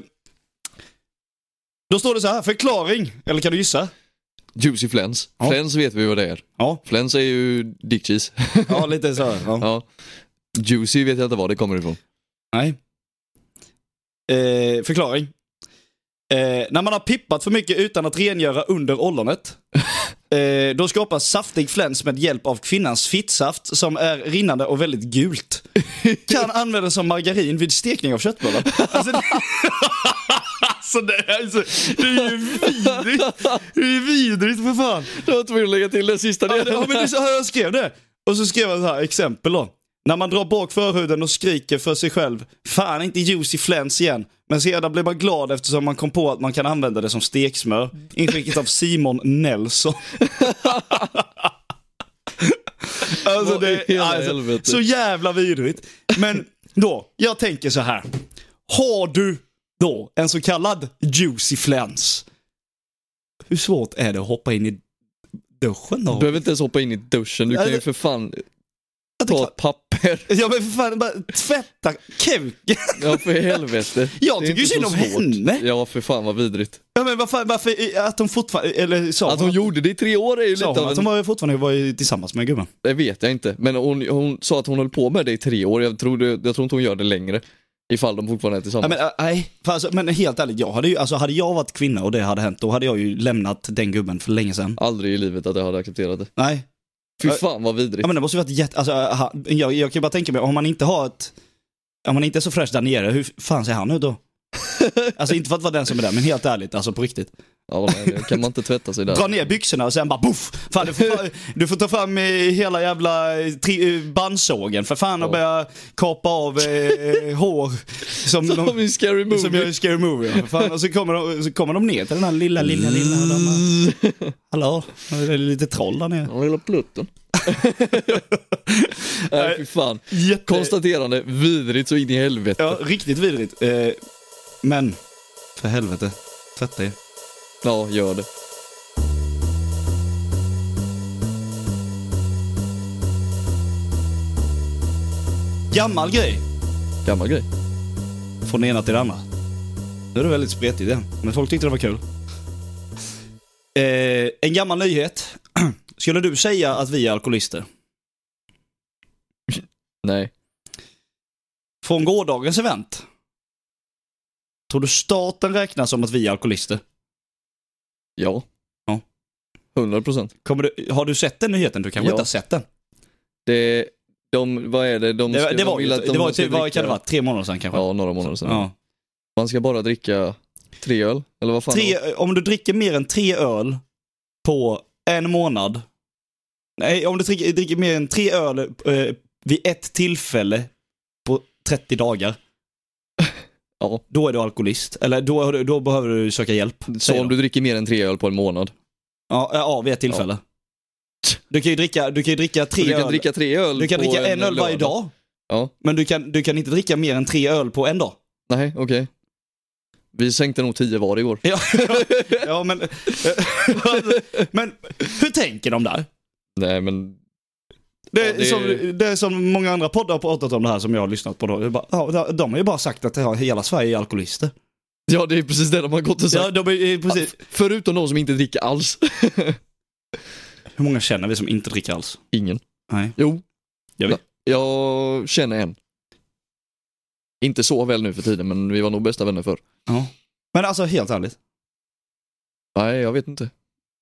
då står det så här, förklaring. Eller kan du gissa? Juicy flens. Ja. Flens vet vi vad det är. Ja, Flens är ju dick cheese. ja lite så. här, Ja. <laughs> ja. Juicy vet jag inte var det kommer ifrån. Nej. Eh, förklaring. Eh, när man har pippat för mycket utan att rengöra under ollonet, eh, då skapas saftig fläns med hjälp av kvinnans fittsaft som är rinnande och väldigt gult. Kan användas som margarin vid stekning av köttbullar. Alltså, det... <laughs> alltså, det, är- alltså, det är ju vidrigt. Det är ju vidrigt för fan. Jag var tvungen att lägga till den sista Ja, men- ja, delen. men det är så här jag skrev det. Och så skrev jag så här, exempel då. När man drar bak förhuden och skriker för sig själv, fan inte juicy flens igen. Men sedan blir man glad eftersom man kom på att man kan använda det som steksmör. Inskickat av Simon <laughs> Nelson. alltså Vad i det är hela alltså, helvete? så jävla vidrigt. Men då, jag tänker så här. Har du då en så kallad juicy flens? Hur svårt är det att hoppa in i duschen då? Du behöver inte ens hoppa in i duschen, du Nej, kan ju det- för fan Jag ta tänker- ett <laughs> papper. Ja men för fan, bara tvätta kuken. Ja för helvete. Jag Det är tycker inte synd så om svårt. henne. Ja för fan vad vidrigt. <laughs> Ja men varför, varför att de fortfarande, eller sa Att hon gjorde det i tre år är ju lite sa hon av att en... de var fortfarande var ju tillsammans med gubben? Det vet jag inte, men hon, hon sa att hon höll på med det i tre år. Jag tror, det, jag tror inte hon gör det längre. Ifall de fortfarande är Ja, tillsammans. men, äh, nej, För alltså, men helt ärligt, jag hade, ju, alltså, hade jag varit kvinna och det hade hänt, då hade jag ju lämnat den gubben för länge sedan. Aldrig i livet att jag hade accepterat det. Nej, Fy Ja. fan vad vidrigt. ja, men det måste ju varit jätte, alltså, äh, ha- jag, jag kan ju bara tänka mig, om man inte har ett, om man inte är så fräsch där nere, hur fan ser han ut <laughs> då? Alltså inte för att vara den som är där, men helt ärligt, alltså på riktigt. Ja, men, kan man inte tvätta sig där? Dra ner byxorna och sen bara boff! Fan, du, får, <laughs> fa- du får ta fram eh, hela jävla eh, tri, eh, bandsågen för fan och Ja. börja kapa av eh, <laughs> hår som, Som de, i Scary Movie. som jag i Scary Movie. ja, för Fan, och så kommer, de, så kommer de ner till den här lilla, lilla, lilla. Och de bara, <laughs> Hallå, det är lite troll där nere. Ja, lilla <laughs> plutten. Nej fy fan. Jätte... Konstaterande, vidrigt så in i helvete. Ja, riktigt vidrigt. Eh, men, för helvete. Tvätta er. Ja, gör det. Gammal grej, Gammal grej. från det ena till det andra. Nu är det väldigt spretigt igen, men folk tyckte det var kul. Eh, en gammal nyhet. <clears throat> Skulle du säga att vi är alkoholister? Nej. Från gårdagens event. Tror du staten räknas som att vi är alkoholister? Ja. Ja. 100 procent. Kommer du, har du sett den nyheten? Du kanske Ja. inte har sett den? Det, de, vad är det? De, Det, ska- det de var ju, vill att de det var, ska typ, vad dricka- kan det vara, tre månader sedan kanske? Ja, några månader sedan. Ja. Man ska bara dricka tre öl, eller vad fan? det var. Tre, om du dricker mer än tre öl på en månad. Nej, om du dricker, dricker mer än tre öl eh, vid ett tillfälle på 30 dagar. <laughs> Ja. Då är du alkoholist. Eller då, har du- då behöver du söka hjälp. Så säger om de. du dricker mer än tre öl på en månad. Ja, eh, ja, vid ett tillfälle. Du kan ju dricka, du kan ju dricka tre Du kan öl. dricka tre öl du kan på dricka en, öl varje lördag. dag. Ja. Men du kan, du kan inte dricka mer än tre öl på en dag. Nej, okej. Vi sänkte nog tio var igår. Ja, <laughs> ja <laughs> men... <laughs> eh, men hur tänker de där? Nej men, Det, är Ja, det- Som, det är som många andra poddar har pratat om det här som jag har lyssnat på. Då. Det är bara, ja, de har ju bara sagt att det har- hela Sverige är alkoholister. ja det är precis det de har gått och sagt. Ja, de är, eh, precis. Förutom de som inte dricker alls. <laughs> Hur många känner vi som inte dricker alls? Ingen. Nej. Jo. Jag vet. Jag känner en. Inte så väl nu för tiden men vi var nog bästa vänner förr. Ja. Men alltså helt ärligt, Nej jag vet inte.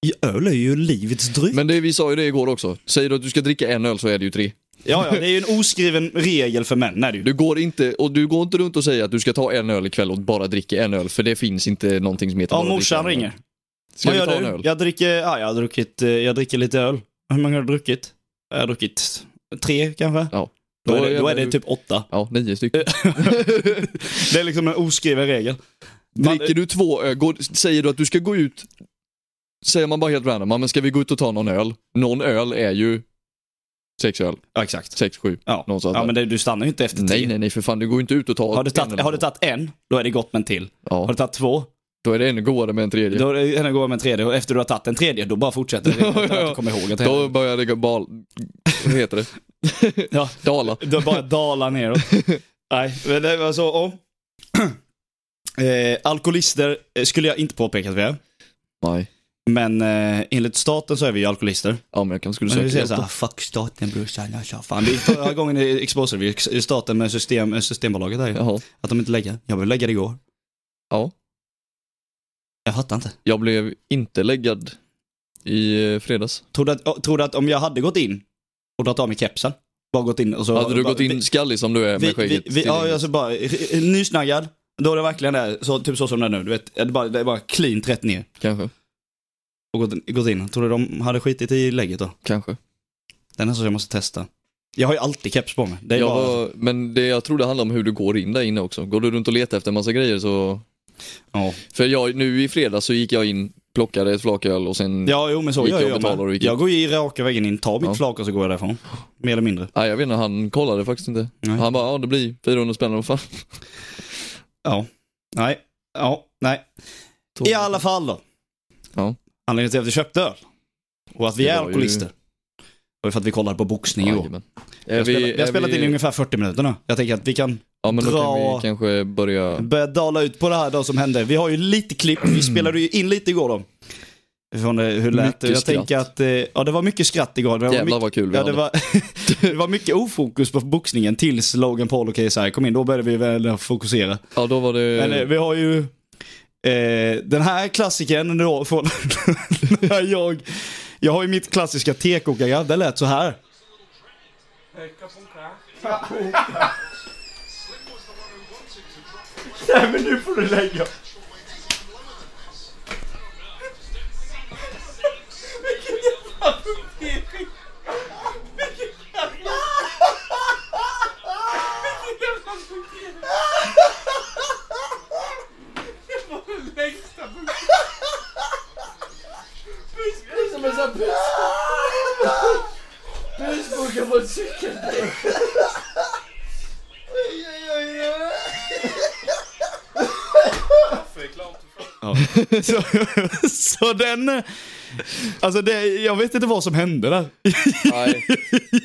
i öl är ju livets dryck. Men det, vi sa ju det igår också. Säger du att du ska dricka en öl så är det ju tre. Ja, ja, det är ju en oskriven regel för män. Är det ju. Du går inte, och du går inte runt och säger att du ska ta en öl ikväll och bara dricka en öl för det finns inte någonting som heter ja, bara att dricka morsan en öl. ringer. Ska Vad vi gör ta du? en öl? Jag dricker, ja, jag har druckit, eh, jag dricker lite öl. Hur många har du druckit? Jag har druckit tre kanske. Ja. Då är det, då jävlar är det du- typ Eh, åtta. <laughs> Ja, nio stycken. det är liksom en oskriven regel. Man- Dricker du två öl, går, säger du att du ska gå ut, säger man bara helt random, "Ja, men ska vi gå ut och ta någon öl? Någon öl är ju sex öl, Ja, exakt. sex, sju. Ja, Någonstans ja där. men det, du stannar ju inte efter Nej, tre. nej, nej för fan, du går inte ut och tar Har du, en tagit, eller har du två. tagit en, då är det gott med en till. Har du Ja, tagit två, då är det ännu godare med en tredje. då är det ännu godare med en tredje. Och efter du har tagit en tredje, då bara fortsätter det. <laughs> Utan att du kommer ihåg att det Då hände. börjar det gå bal... Vad heter det? Ja. Dala. Det bara dalar <laughs> neråt. Nej, men det var så. Och. <clears throat> Eh, alkoholister eh, skulle jag inte påpeka att vi är. Nej. Men eh, enligt staten så är vi ju alkoholister. Ja, men jag kanske skulle Men vi söka säger hjälp. så här, då. fuck staten brorsan, jag sa fan. Det är förra gången i Exposure, vi ex- staten med system, Systembolaget där ju. Jaha. Att de inte lägger. Jag vill lägga det igår. Ja. Jag fattar inte. Jag blev inte läggad i eh, fredags. Tror du att, å- tror du att om jag hade gått in och dragit av mig kepsen, bara gått in och så... Hade du bara, gått in skallig som du är Vi, med vi, skägget? vi, till ja, hänget? alltså bara eh, nysnaggad. Då är det verkligen det, så, typ så som det är nu. Du vet, det är bara, det är bara cleant rätt ner. Kanske, Och gått, in- gått in. Tror du de hade skitit i lägget då? kanske. Den är så jag måste testa. Jag har ju alltid keps på mig. Det är jag bara... var, men det jag tror det handlar om hur du går in där inne också. Går du runt och letar efter en massa grejer så... Ja. För jag, nu i fredags så gick jag in, plockade ett flaköl och sen... Ja, jo men så Gick gör jag och jag betalar och med. gick ut. Jag går ju i raka vägen in, tar mitt Ja. flak och så går jag därifrån. Mer eller mindre. Nej, jag vet inte, han kollade faktiskt inte. Nej. Han bara, ja det blir 400 spänn, vad fan. Ja. Nej. Ja, nej. I alla fall då. Ja. Anledningen till att vi köpte öl. Och att vi Det är var ju- alkoholister. var ju för att vi kollade på boxning igår. Jajamän. Vi Är har vi- spelat, vi har är spelat vi- in i ungefär 40 minuter nu. Jag tänker att vi kan Ja men då kan Dra- vi kanske börja... börja dala ut på det här då som hände. Vi har ju lite klipp, Mm. vi spelade ju in lite igår då. Från eh, hur det lät. Mycket Jag skratt. tänker att, eh, ja det var mycket skratt igår. Det var mycket- Jävlar vad kul vi Ja, hade. det var, det var <laughs> mycket ofokus på boxningen tills Logan Paul och KSI kom in. Då började vi väl fokusera. Ja då var det... Men eh, vi har ju eh, den här klassikern då från <laughs> när jag... Jag har ju mitt klassiska tekokargarv. Det lät så här. <laughs> Så, så den... eh, Alltså det, jag vet inte vad som hände där. <laughs> Nej.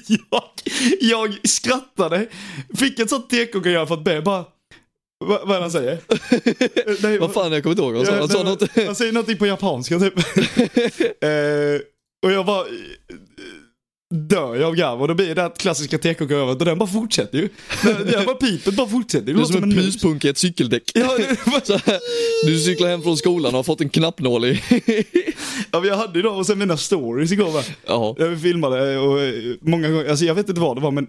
jag, jag skrattade, fick ett sånt tekokargarv för att be bara... Vad, vad är det han <laughs> säger? Nej, Vad fan, jag kommer inte ihåg vad han sa. Han sa nej, något... men Han säger någonting på japanska <laughs> typ. eh, och jag bara eh, dör jag av garv och då blir det det här klassiska tekokarvet och den bara fortsätter ju. Den, den bara pipet bara fortsätter. Det Du är låter som en mus. pyspunk i ett cykeldäck. <laughs> Så här, du cyklar hem från skolan och har fått en knappnål i... <laughs> Ja, men jag hade ju då och sen mina stories igår va. Ja. Jag filmade och eh, många gånger, alltså jag vet inte vad det var men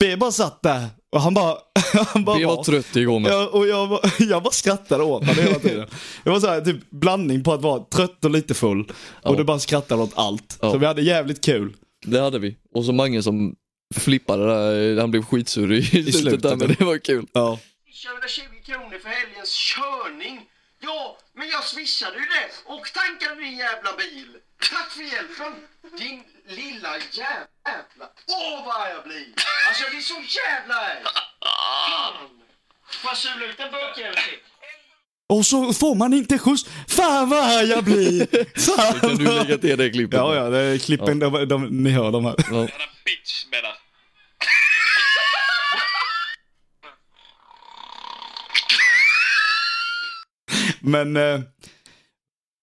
B bara satt där och han bara... <laughs> Han bara Vi var var. trött igår med. Ja, och jag, bara- <laughs> jag bara skrattade åt honom hela <laughs> tiden. Det var så här, typ blandning på att vara trött och lite full. Ja. Och du bara skrattade åt allt. Ja. Så vi hade jävligt kul. Det hade vi. Och så Mange som flippade där, han blev skitsur i, <laughs> slutet, slutet, där, men ja. det var kul. Ja. swishade 20 kronor för helgens körning. Ja, men jag swishade ju det och tankade din jävla bil. Tack för hjälpen, din lilla jävla... Åh, vad arg jag blir! Alltså, jag blir så jävla arg! Fan! Får jag sula ut en burkjävel till? Och så får man inte skjuts. Fan vad arg jag <laughs> blir! Fan Kan du vad- lägga <laughs> till det klippet? Ja, ja, det är klippen, De, de, ni hör dem här. Ja. Jävla bitch, menar Men eh,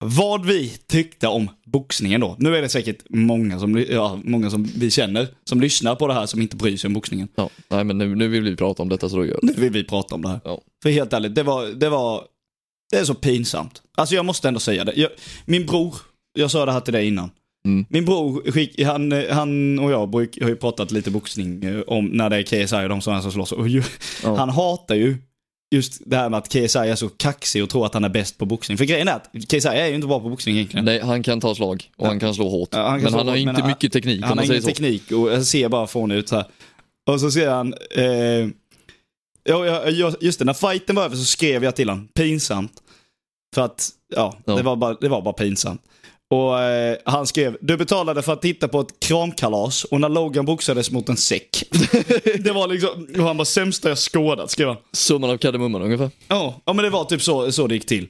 vad vi tyckte om boxningen då. Nu är det säkert många som, ly- ja, många som vi känner som lyssnar på det här som inte bryr sig om boxningen. ja. Nej men nu, nu vill vi prata om detta så då gör vi Nu vill vi prata om det här. Ja. För helt ärligt, det var, det var, det är så pinsamt. Alltså jag måste ändå säga det. Jag, min bror, jag sa det här till dig innan. Mm. Min bror, skick, han, eh, han och jag bruk, har ju pratat lite boxning eh, om när det är KSI och de som är som slåss. Och ju, Ja. Han hatar ju just det här med att KSI är så kaxig och tror att han är bäst på boxning. För grejen är att KSI är ju inte bra på boxning egentligen. Nej, han kan ta slag och han kan slå hårt. Ja, kan men slå han har hårt, inte mycket teknik Han om har man säger ingen så. teknik och jag ser bara fånig ut så här. Och så ser han, eh, ja, ja, ja, just det, när fighten var över så skrev jag till honom, pinsamt. För att, ja, Ja. Det, var bara, det var bara pinsamt. Och eh, han skrev, du betalade för att titta på ett kramkalas och när Logan boxades mot en säck. <laughs> det var liksom, och han var sämsta jag skådat, skrev han. Summan av kardemumman ungefär. Ja, ja men det var typ så, så det gick till.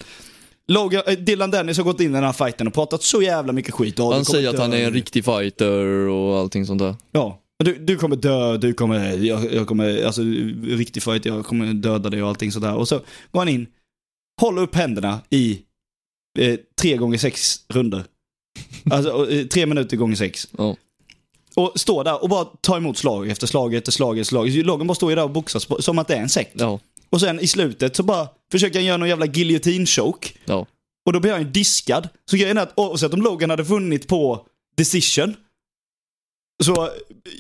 Logan, eh, Dylan Dennis har gått in i den här fighten och pratat så jävla mycket skit. Ja, Han du kommer säger att dö. han är en riktig fighter och allting sånt där. Ja. Du, du kommer dö, du kommer, jag, jag kommer, alltså riktig fight, jag kommer döda dig och allting sådär. Och så går han in, håller upp händerna i eh, tre gånger sex runder. Alltså och, eh, tre minuter gånger sex. Ja. Och står där och bara tar emot slag efter slag efter slag efter slag. Lagen bara står ju där och boxas på- som att det är en sekt. Ja, Och sen i slutet så bara försöker han göra någon jävla giljotin-choke. ja. Och då blir han ju diskad. Så grejen är att oavsett om Logan hade vunnit på decision så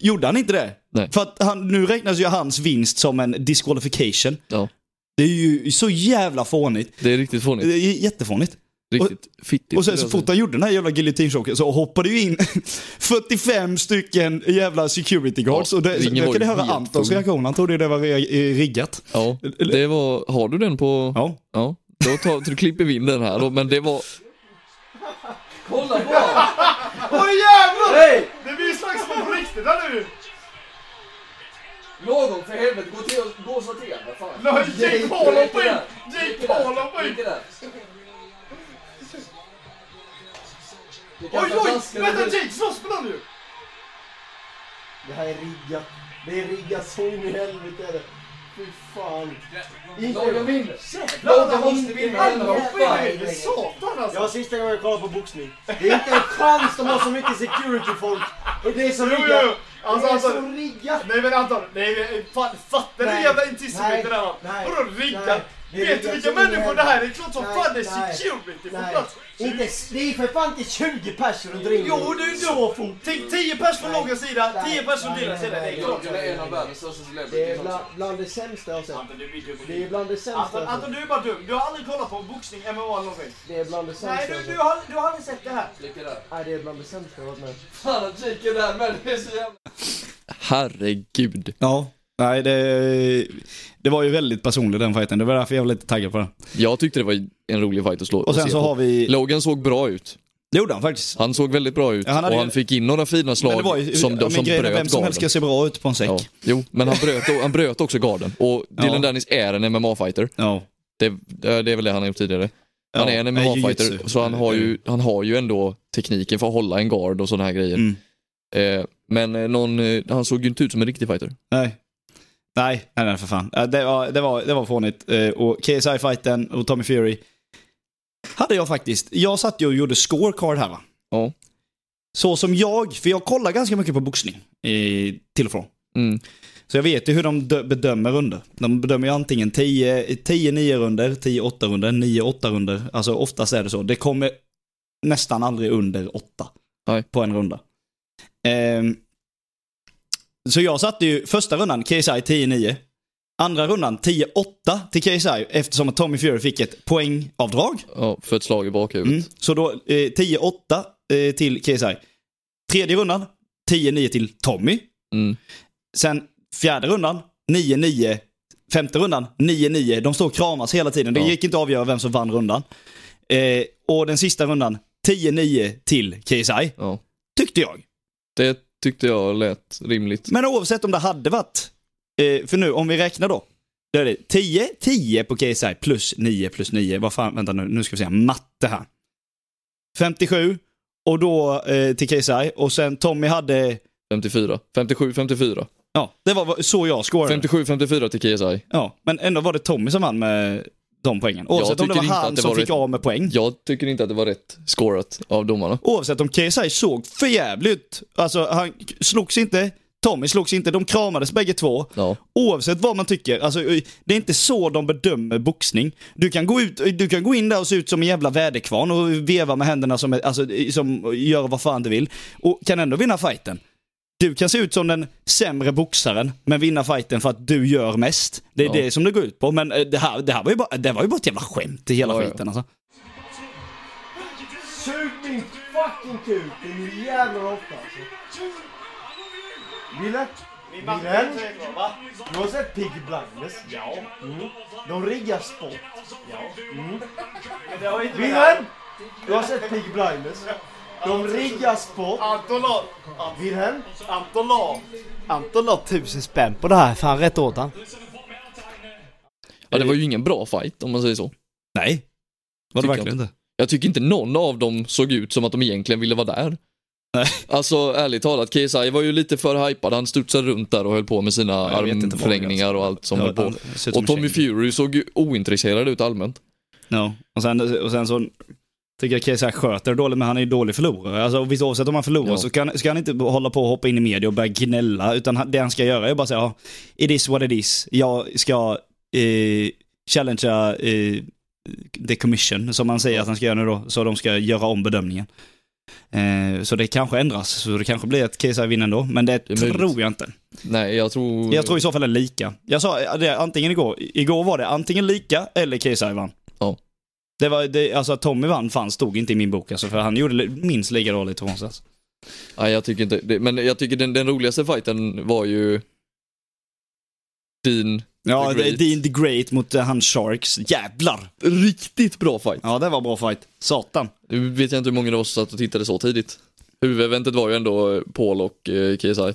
gjorde han inte det. Nej. För att han, nu räknas ju hans vinst som en disqualification. ja. Det är ju så jävla fånigt. Det är riktigt Det fånigt. är jättefånigt. Riktigt fittigt. Och sen skulle så jag fort han gjorde den här jävla giljotinchocken så hoppade ju in <laughs> 45 stycken jävla security guards. Ja, och det, ringen jag var kunde ju höra helt Antons full. reaktion. Han trodde ju det var re- riggat. säga. Ja, det var... Har du den på... Ja. Ja, då, tar, då klipper vi in den här då, men det var... Åh jävlar! Hey! Det blir slagsmål på riktigt här nu! Någon för helvete, gå till och gå och sortera vad fan. Nej, Jake Paul hoppar in! Jake Inte Paul där, hoppar in! Inte där. Du kastar Oj, oj! flaskan Vänta, och- Jake slåss med honom ju! Det här är riggat. Det är riggat så in i helvete är det. Fy fan. Lagen vinner. Jävlar, Lagen han måste vinna Han denna, vad hoppar fan. in! Satan Det alltså! var sista gången jag kollade på boxning. Det är inte en chans de har så mycket security-folk. Och det är så Jo, jo, jo! riggat. Det Alltså är Anton, så riggat. Nej men Anton, nej men fan fattar du hur Nej, jävla intissimitet nej, det här var? nej, Vadå riggat? nej, det är Vet du riggat vilka så in i människor det här är? Det är klart som Nej, fan det är nej, security på Nej, plats! inte, det är för fan inte 20 personer och driver. Jo, det är ju så fort. Tänk 10 pers från Nej, Logas sida, nej, 10 pers från nej, Dylans nej, sida. Det nej, är klart. Lagen är en av världens största Det är celebrities bland, också. bland det sämsta jag har sett. Anton, du är mycket Det är bland det sämsta alltså. Anton, jag har sett. Anton, du är bara dum. Du har aldrig kollat på boxning, MMA eller någonting. Det är bland det Nej, sämsta jag du, har du, sett. har, du har aldrig sett det här. Lycka där. Nej, det är bland det sämsta jag har varit med om. Fan att Jake är där med, det är så jävla... Herregud. Ja. Nej, det, det var ju väldigt personligt den fighten. Det var därför jag var lite taggad på den. Jag tyckte det var en rolig fight att slå Och sen att se så på. har vi... Logan såg bra ut. Det gjorde han faktiskt. Han såg väldigt bra ut Ja, han hade och ju- han fick in några fina slag Men det var ju, som, ja, de, men som grejen är bröt vem som helst ska garden. se bra ut på en säck. Ja. Ja. Jo, men han bröt, han bröt också garden. Och <laughs> Dylan Ja. Dennis är en MMA-fighter. Det, det är väl det han har gjort tidigare. Han Ja, är en nej, Mm. MMA-fighter, jujutsu. så han har, ju, han har ju ändå tekniken för att hålla en gard och sådana här grejer. Mm. Eh, men eh, någon, eh, han såg ju inte ut som en riktig fighter. Nej. Nej, nej, nej för fan. Eh, Det var, det var, det var fånigt. Eh, Och KSI-fighten och Tommy Fury. Hade jag faktiskt. Jag satt ju och gjorde scorecard här va. Ja. Så som jag, för jag kollar ganska mycket på boxning. eh, Till och från. Mm. Så jag vet ju hur de dö- bedömer runder. De bedömer ju antingen 10 10 9 runder 10 8 runder 9 8 runder Alltså oftast är det så. Det kommer nästan aldrig under 8 Nej. på en runda. Ehm, så jag satte ju första rundan KSI 10-9. Andra rundan 10-8 till KSI eftersom att Tommy Fury fick ett poängavdrag. Ja, för ett slag i bakhuvudet. Mm. Så då eh, 10-8 eh, till KSI. Tredje rundan 10-9 till Tommy. Mm. Sen fjärde rundan, 9-9. Femte rundan, 9-9. De står och kramas hela tiden. Det Ja. gick inte att avgöra vem som vann rundan. Eh, och den sista rundan, 10-9 till KSI. Ja. Tyckte jag. Det tyckte jag lät rimligt. Men oavsett om det hade varit, eh, för nu om vi räknar då. Då är det 10, 10 på KSI plus 9 plus 9. Vad fan, vänta nu, nu ska vi se, matte här. 57 och då eh, till KSI och sen Tommy hade, 54. 57, 54. ja det var vad- så jag scorade. 57, 54 till KSI. Ja, men ändå var det Tommy som vann med de poängen. Jag Oavsett om det tycker var inte han att det som var fick rätt. av med poäng. Jag tycker inte att det var rätt scorat av domarna. Oavsett om KSI såg för jävligt ut. Alltså han k- slogs inte, Tommy slogs inte, de kramades bägge två. Ja. Oavsett vad man tycker, alltså, det är inte så de bedömer boxning. Du kan, gå ut, du kan gå in där och se ut som en jävla väderkvarn och veva med händerna som, alltså, som gör vad fan du vill. Och kan ändå vinna fighten. Du kan se ut som den sämre boxaren, men vinna fighten för att du gör mest. Det är Ja. det som det går ut på. Men eh, det här, det här var, ju bara, det var ju bara ett jävla skämt i hela Ja, ja. skiten alltså. Sug min fucking kuk, din jävla råtta alltså. Wille? Wilhelm? Va? Du har sett Piggy Blinders? Ja. Mm. De riggar sport. Mm. Det har inte med- Wilhelm! Du har sett Piggy Blinders? Alltså, De riggar sport. Anton la, Wilhelm? Anton la, Anton la tusen spänn på det här, fan rätt åt han. Ja, det var ju ingen bra fight om man säger så. Nej. Var det Tycker verkligen inte? Jag tycker inte någon av dem såg ut som att de egentligen ville vara där. Nej. Alltså ärligt talat, KSI var ju lite för hypad. Han studsade runt där och höll på med sina jag vet inte vad det är, armförlängningar och allt som höll på. han ser ut som Och en Tommy käng. Fury såg ju ointresserad ut allmänt. Ja, och sen, och sen så tycker jag KSI sköter dåligt, men han är ju dålig förlorare. Alltså, och visst, oavsett om han förlorar Ja. så ska han, ska han inte hålla på och hoppa in i media och börja gnälla, utan han, det han ska göra är bara säga ja, it is what it is. Jag ska eh, challengea eh, the commission, som man säger att han ska göra nu då, så de ska göra om bedömningen. Eh, så det kanske ändras, så det kanske blir att KSI vinner ändå, men det, Det är möjligt. tror jag inte. Nej, jag tror... Jag tror i så fall det är lika. Jag sa det antingen igår. Igår var det antingen lika eller KSI vann. Ja. Det var, det, alltså att Tommy vann fan stod inte i min bok alltså, för han gjorde li- minst lika dåligt ifrån sig. alltså. Nej, jag tycker inte det. Men jag tycker den, den roligaste fighten var ju... Dean. Ja, The Great. det- Dean the Great mot eh, han Sharks. Jävlar! Riktigt bra fight. Ja, det var bra fight. Satan. Nu vet jag inte hur många av oss satt och tittade så tidigt. Huvudeventet var ju ändå eh, Paul och eh, KSI.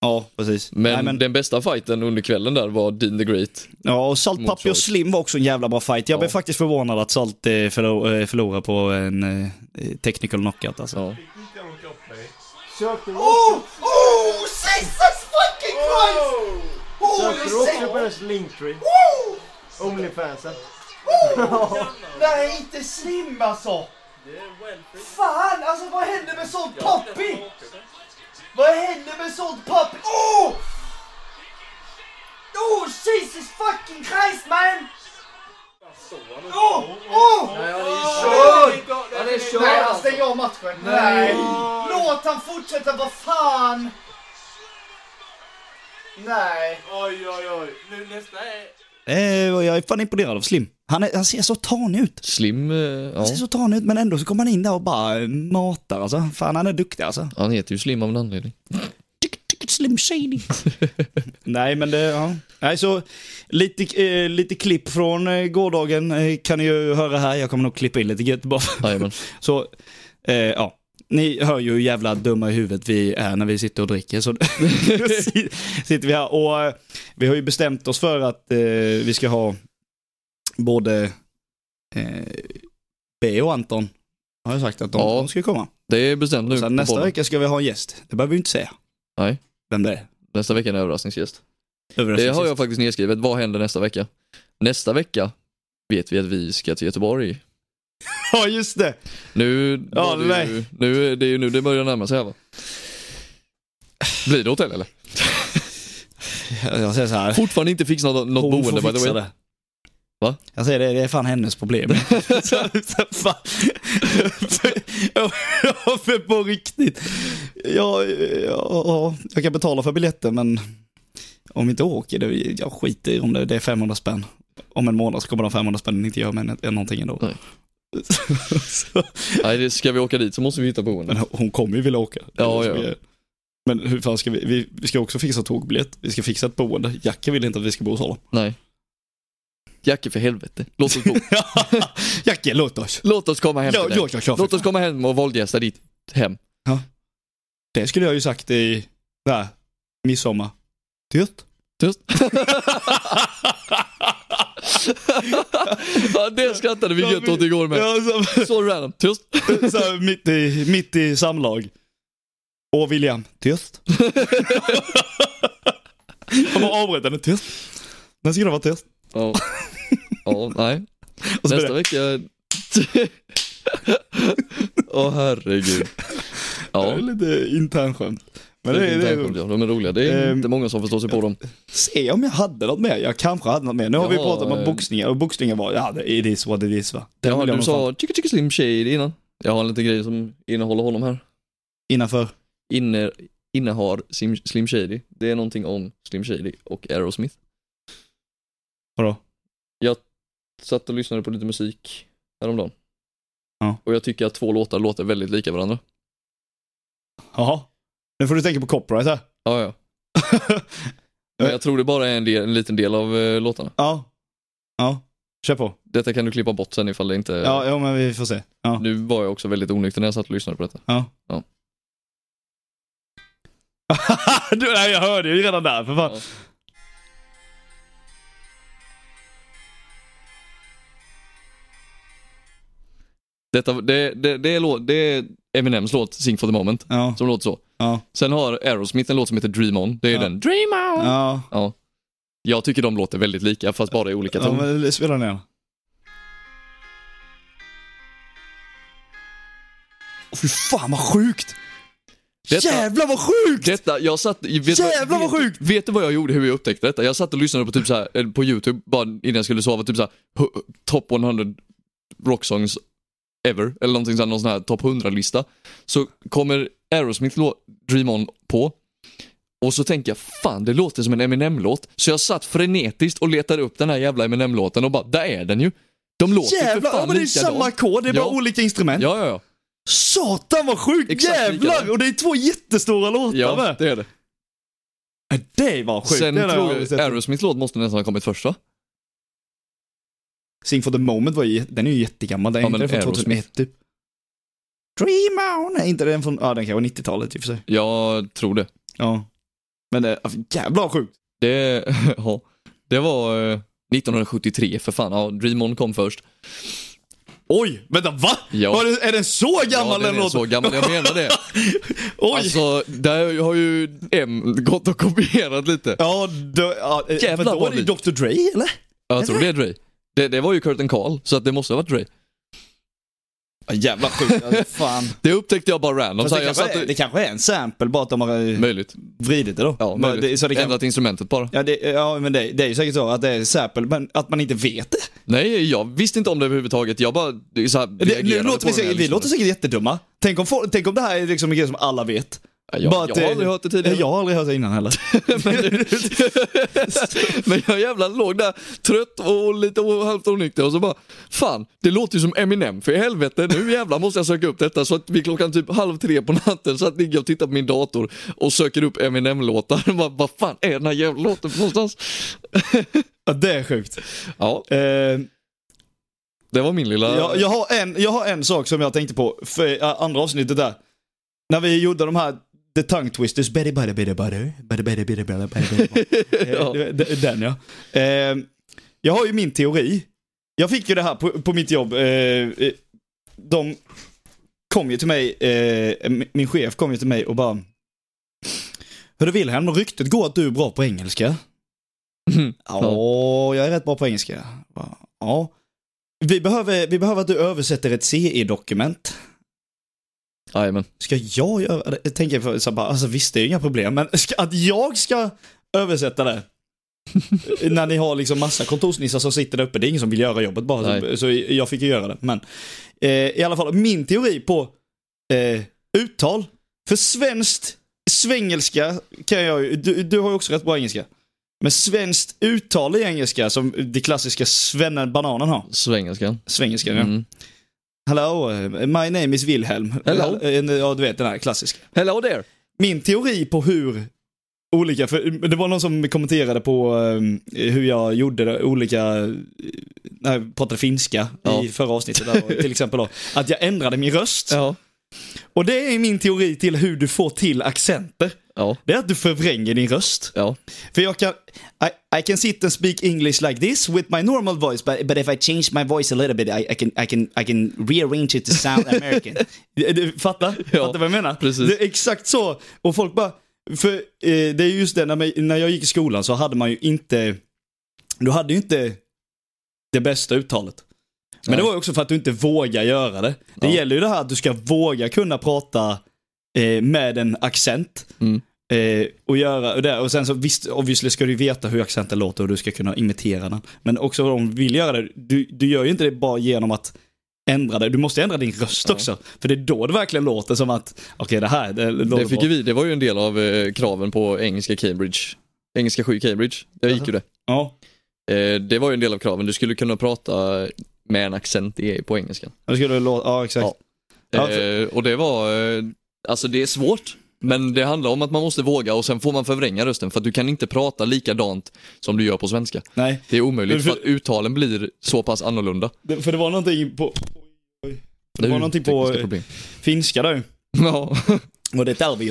Ja, precis. Men, Nej, men, den bästa fighten under kvällen där var Dean the Great. ja, och Salt, mot Papi och Sharks. Slim var också en jävla bra fight. Jag Ja. blev faktiskt förvånad att Salt eh, förlo- eh, förlorade på en eh, technical knockout alltså. Ja. Sökte du Oh! också, Oh! Jesus fucking Christ! Oh! sökte du också på hennes linktree? Oh! Onlyfansen? Nej, inte Slim alltså! Fan, alltså vad händer med sånt pappi? Vad händer med sånt pappi? Oh! Oh, Jesus fucking Christ man! Oh! Oh! Kör! Ja, det är kört Nej, han alltså. stänger av matchen. Nej! Låt han fortsätta, vad fan! Nej. Oj, oj, oj. Nu nästa är... Eh, och jag är fan imponerad av Slim. Han, är, han ser så tanig ut. Slim, eh, ja. Han ser så tanig ut men ändå så kommer han in där och bara eh, matar alltså. Fan han är duktig alltså. Han heter ju Slim av en anledning. Tick, tick, Slim shady. <laughs> Nej men det, ja. Nej så lite, eh, lite klipp från eh, gårdagen eh, kan ni ju höra här. Jag kommer nog klippa in lite gött bara. för- Jajamän. Så, eh, ja. Ni hör ju hur jävla dumma i huvudet vi är när vi sitter och dricker. Så <laughs> sitter vi här och eh, vi har ju bestämt oss för att eh, vi ska ha både eh, B och Anton. Har jag sagt att de, Ja. de ska komma. Det är <laughs> bestämt nu. Sen på nästa podden. vecka ska vi ha en gäst. Det behöver vi inte säga. Nej. Vem det är. nästa vecka är en överraskningsgäst. Det Överraskningsgäst. har jag faktiskt nedskrivet. Vad händer nästa vecka? Nästa vecka vet vi att vi ska till Göteborg. <laughs> Ja, just det. Nu, Ja, var det är ju, nu är det är ju nu det börjar närma sig här va? Blir det hotell eller? Jag säger så här. Fortfarande inte fixat något, något Hon boende får by the fixa way. det. Va? Jag säger det, det är fan hennes <laughs> problem. Så- så fan. <laughs> Ja, men på riktigt. Ja, ja, jag kan betala för biljetten men om vi inte åker, det, jag skiter i om det, det är 500 spänn. Om en månad så kommer de 500 spännen inte göra mig nä- någonting ändå. Nej. Så, Nej, det, ska vi åka dit så måste vi hitta <laughs> boende. men hon kommer ju vilja åka. Det är Ja, det som ja. är- Men hur fan ska vi, vi, vi ska också fixa tågbiljett, vi ska fixa ett boende. Jacke vill inte att vi ska bo hos honom. <laughs> Nej. Jacke för helvete. Låt oss bo. Jacke, låt oss. Låt oss komma hem till Ja, dig. jag kan köra Låt oss komma hem och våldgästa ditt hem. Det skulle jag ju sagt i, där, midsommar. Dyrt. <laughs> Tyst. ja, det skrattade vi gött åt igår med. Ja, så, Så random. Tyst. <laughs> så här, mitt, i, mitt i samlag. Och William, tyst. <laughs> Han bara avbröt henne, tyst. Den skulle vara tyst. Ja. ja, nej. Och så Nästa blir vecka... Åh herregud. det, Ja, det är lite internskämt. Men det det, är det, inte de är roliga. Det är Ehm, inte många som förstår sig på dem. se om jag hade något mer. Jag kanske hade något mer. Nu har vi Ja, pratat om eh. boxningar och boxningar var, ja det it is what it is va. Den Jaha, vill jag du nog fan- sa chicka chicka slim shade innan. Jag har en liten grej som innehåller honom här. Innanför. Inner... innehar Slim, Slim Shady. Det är någonting om Slim Shady och Aerosmith. Vadå? Satt och lyssnade på lite musik häromdagen. Ja. Och jag tycker att två låtar låter väldigt lika varandra. Jaha. Nu får du tänka på copyright här. <laughs> Ja, ja. Eh. Men jag tror det bara är en, del, en liten del av eh, låtarna. Ja. Ja. Kör på. Detta kan du klippa bort sen ifall det inte... Ja, ja men vi får se. Ja. Nu var jag också väldigt onykter när jag satt och lyssnade på detta. <laughs> du, nej, jag hörde ju redan där, för fan. Ja. Detta, det, det, det, är, lå- det är Eminems låt Sing for the moment, Ja. som låter så. Ja. Sen har Aerosmith en låt som heter Dream on, det är Ja. den. Dream on! Ja. Ja. Jag tycker de låter väldigt lika, fast bara i olika ja ton. men spela ner den. Åh, Fy fan vad sjukt! Detta- Jävlar vad sjukt! Detta, jag satt... Vet, Jävlar, vad vet, sjukt! Vet du vad jag gjorde, hur jag upptäckte detta? Jag satt och lyssnade på typ så här, eh, på YouTube, bara innan jag skulle sova, typ så här, hu- top 100 rocksongs ever, eller någonting sånt, någon sån här topp 100-lista. Så kommer Aerosmith lå- Dream On på, och så tänker jag fan det låter som en Eminem-låt. Så jag satt frenetiskt och letade upp den här jävla Eminem-låten och bara, där är den ju! De låter för Jävlar! fan Ja, men det är likadant. samma ackord, det är Ja. bara olika instrument. Ja, ja, ja. Satan vad sjukt! Exakt Jävlar! likadant. Och det är två jättestora låtar ja med. det är det. Det var sjukt. Sen det har tror aldrig jag sett. Aerosmiths låt måste nästan ha kommit först va? Sing for the moment var ju, jä- den är ju jättegammal, den är Ja, inte men den från Aerosmith. 2001 typ. Dream on! Är inte den från, ja den kanske var 90-talet i och för sig. Jag tror det. Ja. Men äh, jävlar vad sjukt. Det, <laughs> ja, det var eh, 1973 för fan. Ja, Dream On kom först. Oj, vänta va? Ja. Var det, är den så gammal den ja, den är låten? så gammal, <laughs> jag menar det. Oj! Alltså, där har ju M gått och kopierat lite. Ja, då, ja, eh, Jävlar, för då vad är det ju Dr Dre eller? Jag tror det är Dre. Det, det var ju Kurt and Carl, så att det måste ha varit Dre. Ja, jävla sjukt, alltså, fan. Det upptäckte jag bara random. Fast Så det, här, jag kanske satt är, och, det kanske är en sample, bara att de har eh, möjligt. vridit det då. Ja, men, det, möjligt. så det kan, Ändrat instrumentet bara. ja, det, ja, men det, det är ju säkert så att det är sample, men att man inte vet det. Nej, jag visste inte om det överhuvudtaget. Jag bara det är så här, Det, nu reagerade låter på vi, den när säkert, jag vi lyssnade. låter säkert jättedumma. Tänk om, folk- tänk om det här är liksom en grej som alla vet. Ja, jag, Bara att jag har det- aldrig hört det tidigare. Jag har aldrig hört det innan <laughs> heller. Men jag jävla låg där trött och lite o- halvt onykter och så bara Fan, det låter ju som Eminem för i helvete nu jävlar måste jag söka upp detta så att vid klockan typ halv tre på natten så att ligger jag och tittar på min dator och söker upp Eminem-låtar. <laughs> Bara, Vad fan är den här jävla låten för någonstans? <laughs> Ja, det är sjukt. Ja, Eh, det var min lilla... Jag, jag, har en, jag har en sak som jag tänkte på för ä, andra avsnittet där. När vi gjorde de här The Tongue Twisters, Betty Butter Butter Butter, Butter Butter Butter Butter Butter <laughs> Ja. Butter. Eh, d- Den ja. Eh, Jag har ju min teori. Jag fick ju det här på, på mitt jobb. eh, eh, De kom ju till mig, eh, m- min chef kom ju till mig och bara Hörru Wilhelm, ryktet går att du är bra på engelska. Ja, jag är rätt bra på engelska. Bara, Ja. Vi behöver, vi behöver att du översätter ett CE-dokument. Jajamän. Ska jag göra det? Jag tänker för, så bara, alltså visst det är ju inga problem, men ska, att jag ska översätta <laughs> det? När ni har liksom massa kontorsnissar som sitter där uppe, det är ingen som vill göra jobbet bara, så, Nej. så jag fick ju göra det. Men eh, i alla fall, min teori på eh, uttal, för svenskt, svengelska kan jag ju, du, du har ju också rätt bra engelska. Men svenskt uttal i engelska, som det klassiska svennen-bananen har, Svengelskan. svengelskan ja. Mm. Hello, eh, my name is Wilhelm. Hello. Eh, Ja, du vet den här klassiska. Hello there! Min teori på hur olika, för det var någon som kommenterade på eh, hur jag gjorde det, olika, eh, när jag pratade finska Ja. i förra avsnittet där, och till exempel då, att jag ändrade min röst. Ja. Och det är min teori till hur du får till accenter. Ja. Det är att du förvränger din röst. Ja. För jag kan, I, I can sit and speak English like this with my normal voice, but, but if I change my voice a little bit I, I, can, I, can, I can rearrange it to sound <laughs> American. Du- du, fattar? Ja, fattar vad jag menar? precis. Det är exakt så. Och folk bara, för eh, det är just det, när, man, när jag gick i skolan så hade man ju inte, du hade ju inte det bästa uttalet. Men Nej. det var ju också för att du inte vågar göra det. Det Ja. gäller ju det här att du ska våga kunna prata eh, med en accent. Mm. Eh, och, göra, och, där, och sen så visst, obviously ska du ju veta hur accenten låter och du ska kunna imitera den. Men också om du vill göra det, du, du gör ju inte det bara genom att ändra dig. Du måste ändra din röst också. För det är då det verkligen låter som att, okej det här, det, låter Det fick bra. ju vi, det var ju en del av eh, kraven på engelska Cambridge. Engelska 7 Cambridge, jag gick ju det. Ja, Eh, det var ju en del av kraven, du skulle kunna prata med en accent i, på engelskan. det skulle låta, ja exakt. Ja. Ja, för- Eh, och det var, eh, alltså det är svårt. Men det handlar om att man måste våga och sen får man förvränga rösten för att du kan inte prata likadant som du gör på svenska. Nej, Det är omöjligt för Men att uttalen blir så pass annorlunda. det, för det var någonting på, oj. det var Nu, någonting på tekniska eh, problem. <laughs> finska där ju. Ja, Och det där vi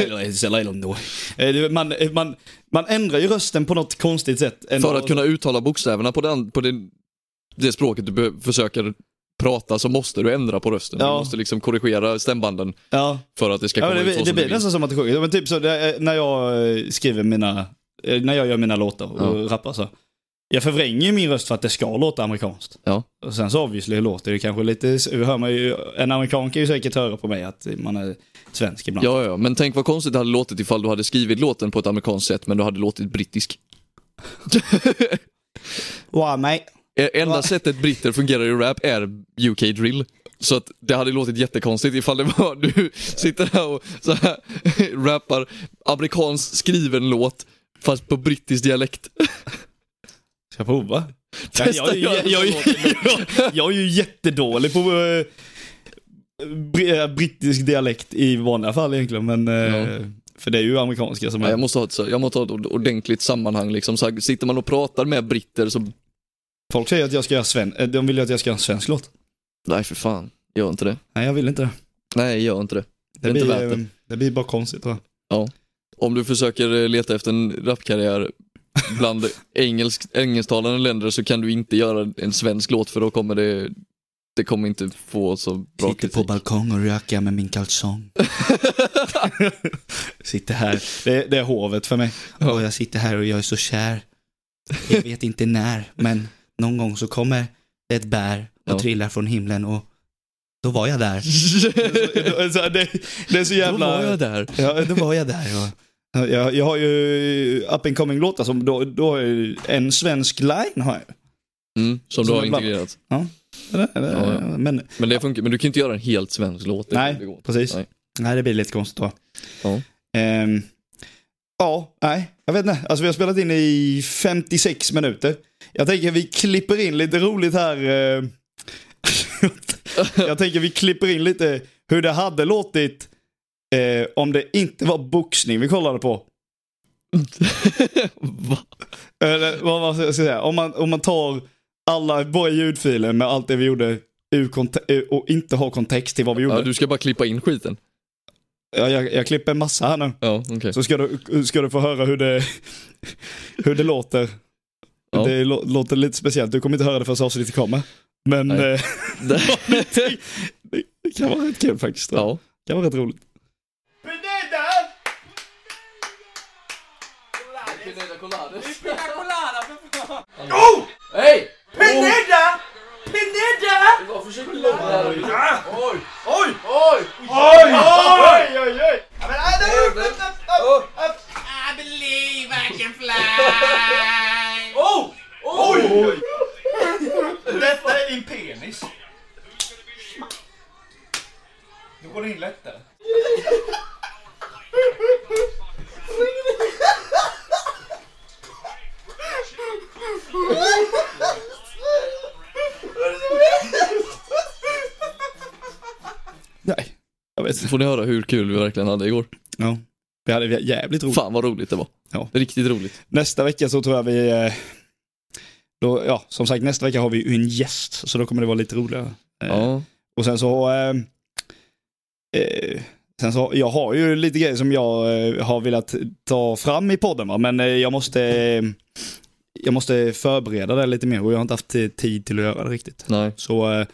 gör då. Man, man, man ändrar ju rösten på något konstigt sätt. Ändå- för att kunna uttala bokstäverna på, den, på det, det språket du be- försöker prata så måste du ändra på rösten. Du Ja. måste liksom korrigera stämbanden Ja. för att det ska Ja, komma men ut så det, det som du blir vill. nästan som att du sjunger. Ja, Men typ så, det, är- när jag eh, skriver mina, eh, när jag gör mina låtar och rappar så. Jag förvränger ju min röst för att det ska låta amerikanskt. Ja. Och sen så obviously låter det kanske lite, hör man ju, en amerikan kan ju säkert höra på mig att man är svensk ibland. Ja, ja, men tänk vad konstigt det hade låtit ifall du hade skrivit låten på ett amerikanskt sätt men du hade låtit brittisk. Wow, mate. E- Enda sättet britter fungerar i rap är UK drill. Så att det hade låtit jättekonstigt ifall det var du sitter här och så här <laughs> rappar amerikansk skriven låt fast på brittisk dialekt. <laughs> Ska jag prova? Ja, Testa jag, är ju- göra jag, jag, <laughs> jag, jag är ju jättedålig på eh, br- eh, brittisk dialekt i vanliga fall egentligen, men eh, Ja. för det är ju amerikanska som Nej, är... jag, måste ha ett, så- jag måste ha ett ord- ordentligt sammanhang liksom. Så här, sitter man och pratar med britter så, Folk säger att jag ska göra sven... eh, de vill ju att jag ska göra en svensk låt. nej för fan, gör inte det. Nej, jag vill inte det. Nej, gör inte det. Det, Det är blir, inte värt det. eh, det blir bara konstigt va? Om du försöker eh, leta efter en rapkarriär <laughs> bland engelsk, engelsktalande länder så kan du inte göra en svensk låt för då kommer det, det kommer inte få så bra kritik. balkong och röka med min kalsong. sitter här. Det, det är hovet för mig. Och jag sitter här och jag är så kär. Jag vet inte när, men någon gång så kommer det ett bär och Ja. trillar från himlen och då var jag där. <laughs> Så det, det är så jävla... Då var jag där. Ja, då var jag där. <laughs> Och, jag, jag har ju up and coming låtar som då, då har jag ju en svensk line har jag. <laughs> Mm, som du Som har ibland- integrerat. ja, ja. Men Men det funkar, men du kan ju inte göra en helt svensk låt. Det Nej, kommer inte gå. precis. <laughs> Nej. Nej, det blir lite konstigt då. Ja. Ehm, ja, nej, jag vet inte. Alltså vi har spelat in i 56 minuter. Jag tänker vi klipper in lite roligt här. eh. <laughs> jag tänker vi klipper in lite hur det hade låtit eh, om det inte var boxning vi kollade på. Va? Eller vad man ska säga. Om man, om man tar alla våra ljudfiler med allt det vi gjorde ur konte- ur- och inte har kontext till vad vi gjorde. Ja, du ska bara klippa in skiten. jag, jag, jag klipper en massa här nu. Ja, okej. Så <laughs> ska du, ska du få höra hur det, hur det låter. Ja. Det lå- låter lite speciellt, du kommer inte höra det förrän avsnittet kommer. Men Nej. eh, <laughs> Där- det, det kan vara rätt kul faktiskt. tror jag. ja. Det kan vara rätt roligt. Oh! Hej! Pineda! Pineda! Det var försiktigt Oj! Oj! Oj! Oj! Oj! Oj! äh, Oj! Oh! Oj! Oj! Detta är din penis. Då går det in lättare. Nej, jag vet inte. Får ni höra hur kul vi verkligen hade igår? Ja. Vi hade jävligt roligt. Fan vad roligt det var. Ja. Riktigt roligt. Nästa vecka så tror jag vi... eh, Då, ja, som sagt, nästa vecka har vi ju en gäst, så då kommer det vara lite roligare. Eh, Ja. Och sen så... Eh, eh, sen så, jag har ju lite grejer som jag eh, har velat ta fram i podden, va? men eh, jag måste... Eh, jag måste förbereda det lite mer och jag har inte haft eh, tid till att göra det riktigt. Nej. Så eh,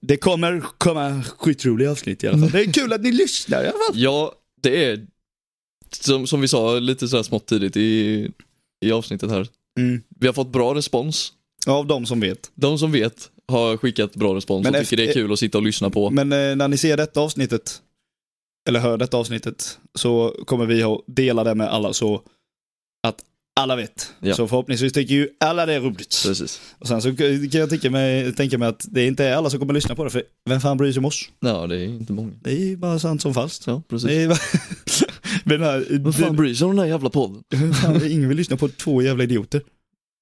det kommer komma skitroliga avsnitt i alla fall. Det är kul att ni lyssnar i alla fall. Ja, det är som, som vi sa lite så här smått tidigt i, i avsnittet här. Mm. Vi har fått bra respons. Av de som vet. De som vet har skickat bra respons Men och efter- tycker det är kul att sitta och lyssna på. Men eh, när ni ser detta avsnittet, eller hör detta avsnittet, så kommer vi att dela det med alla så att alla vet. Ja. Så förhoppningsvis tycker ju alla det är roligt. Precis. Och sen så kan jag tänka mig, tänka mig att det inte är alla som kommer lyssna på det, för vem fan bryr sig om oss? Ja, det är inte många. Det är ju bara sant som falskt. Ja, precis. Det är bara... <laughs> Men den här, Vem fan bryr sig om den här <laughs> jävla podden? Vem fan, ingen vill lyssna på två jävla idioter.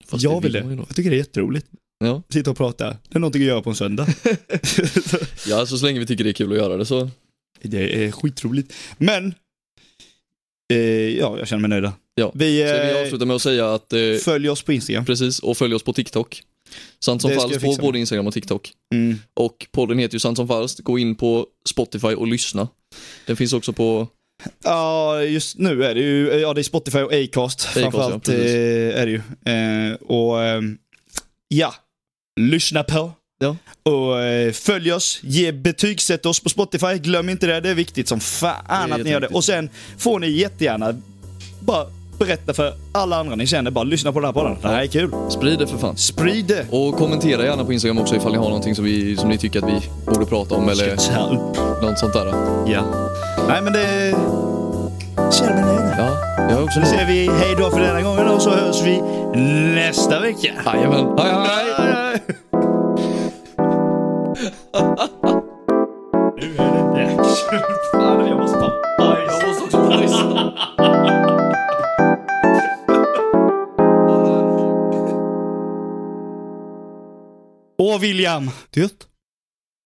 Fast jag vill man det. ju då. Jag tycker det är jätteroligt. Ja. Sitta och prata. Det är någonting att göra på en söndag. ja, alltså så länge vi tycker det är kul att göra det så. det är skitroligt. Men, eh, ja, jag känner mig nöjd. Ja. Vi, Så vi eh, avslutar med att säga att, eh, följ oss på Instagram. precis, och följ oss på TikTok. Sant som Det ska jag falskt på fixa med. både Instagram och TikTok. Mm. Och podden heter ju Sant som falskt, gå in på Spotify och lyssna. Den finns också på, Ja, just nu är det ju ja, det är Spotify och Acast. framförallt ja, eh, precis. är det ju. Eh, och ehm, ja, lyssna på. Ja. Och eh, följ oss, ge betygsätt oss på Spotify. Glöm inte det, det är viktigt som fan Det är att ni gör det. jätteviktigt. Och sen får ni jättegärna bara berätta för alla andra ni känner. Bara lyssna på den här podden. Det här är kul. sprid det för fan. Sprid det. Och kommentera gärna på Instagram också ifall ni har någonting som, vi, som ni tycker att vi borde prata om eller Ska ta upp. något sånt där. Ja. Nej men det... Känner mig nöjd. Ja, jag är också Nu nöjd. säger vi hej då för denna gången och så hörs vi nästa vecka. Jajamän. Hej, hej, hej. Nu är det dags. Fan, jag måste ta bajs. Åh William! Tyst.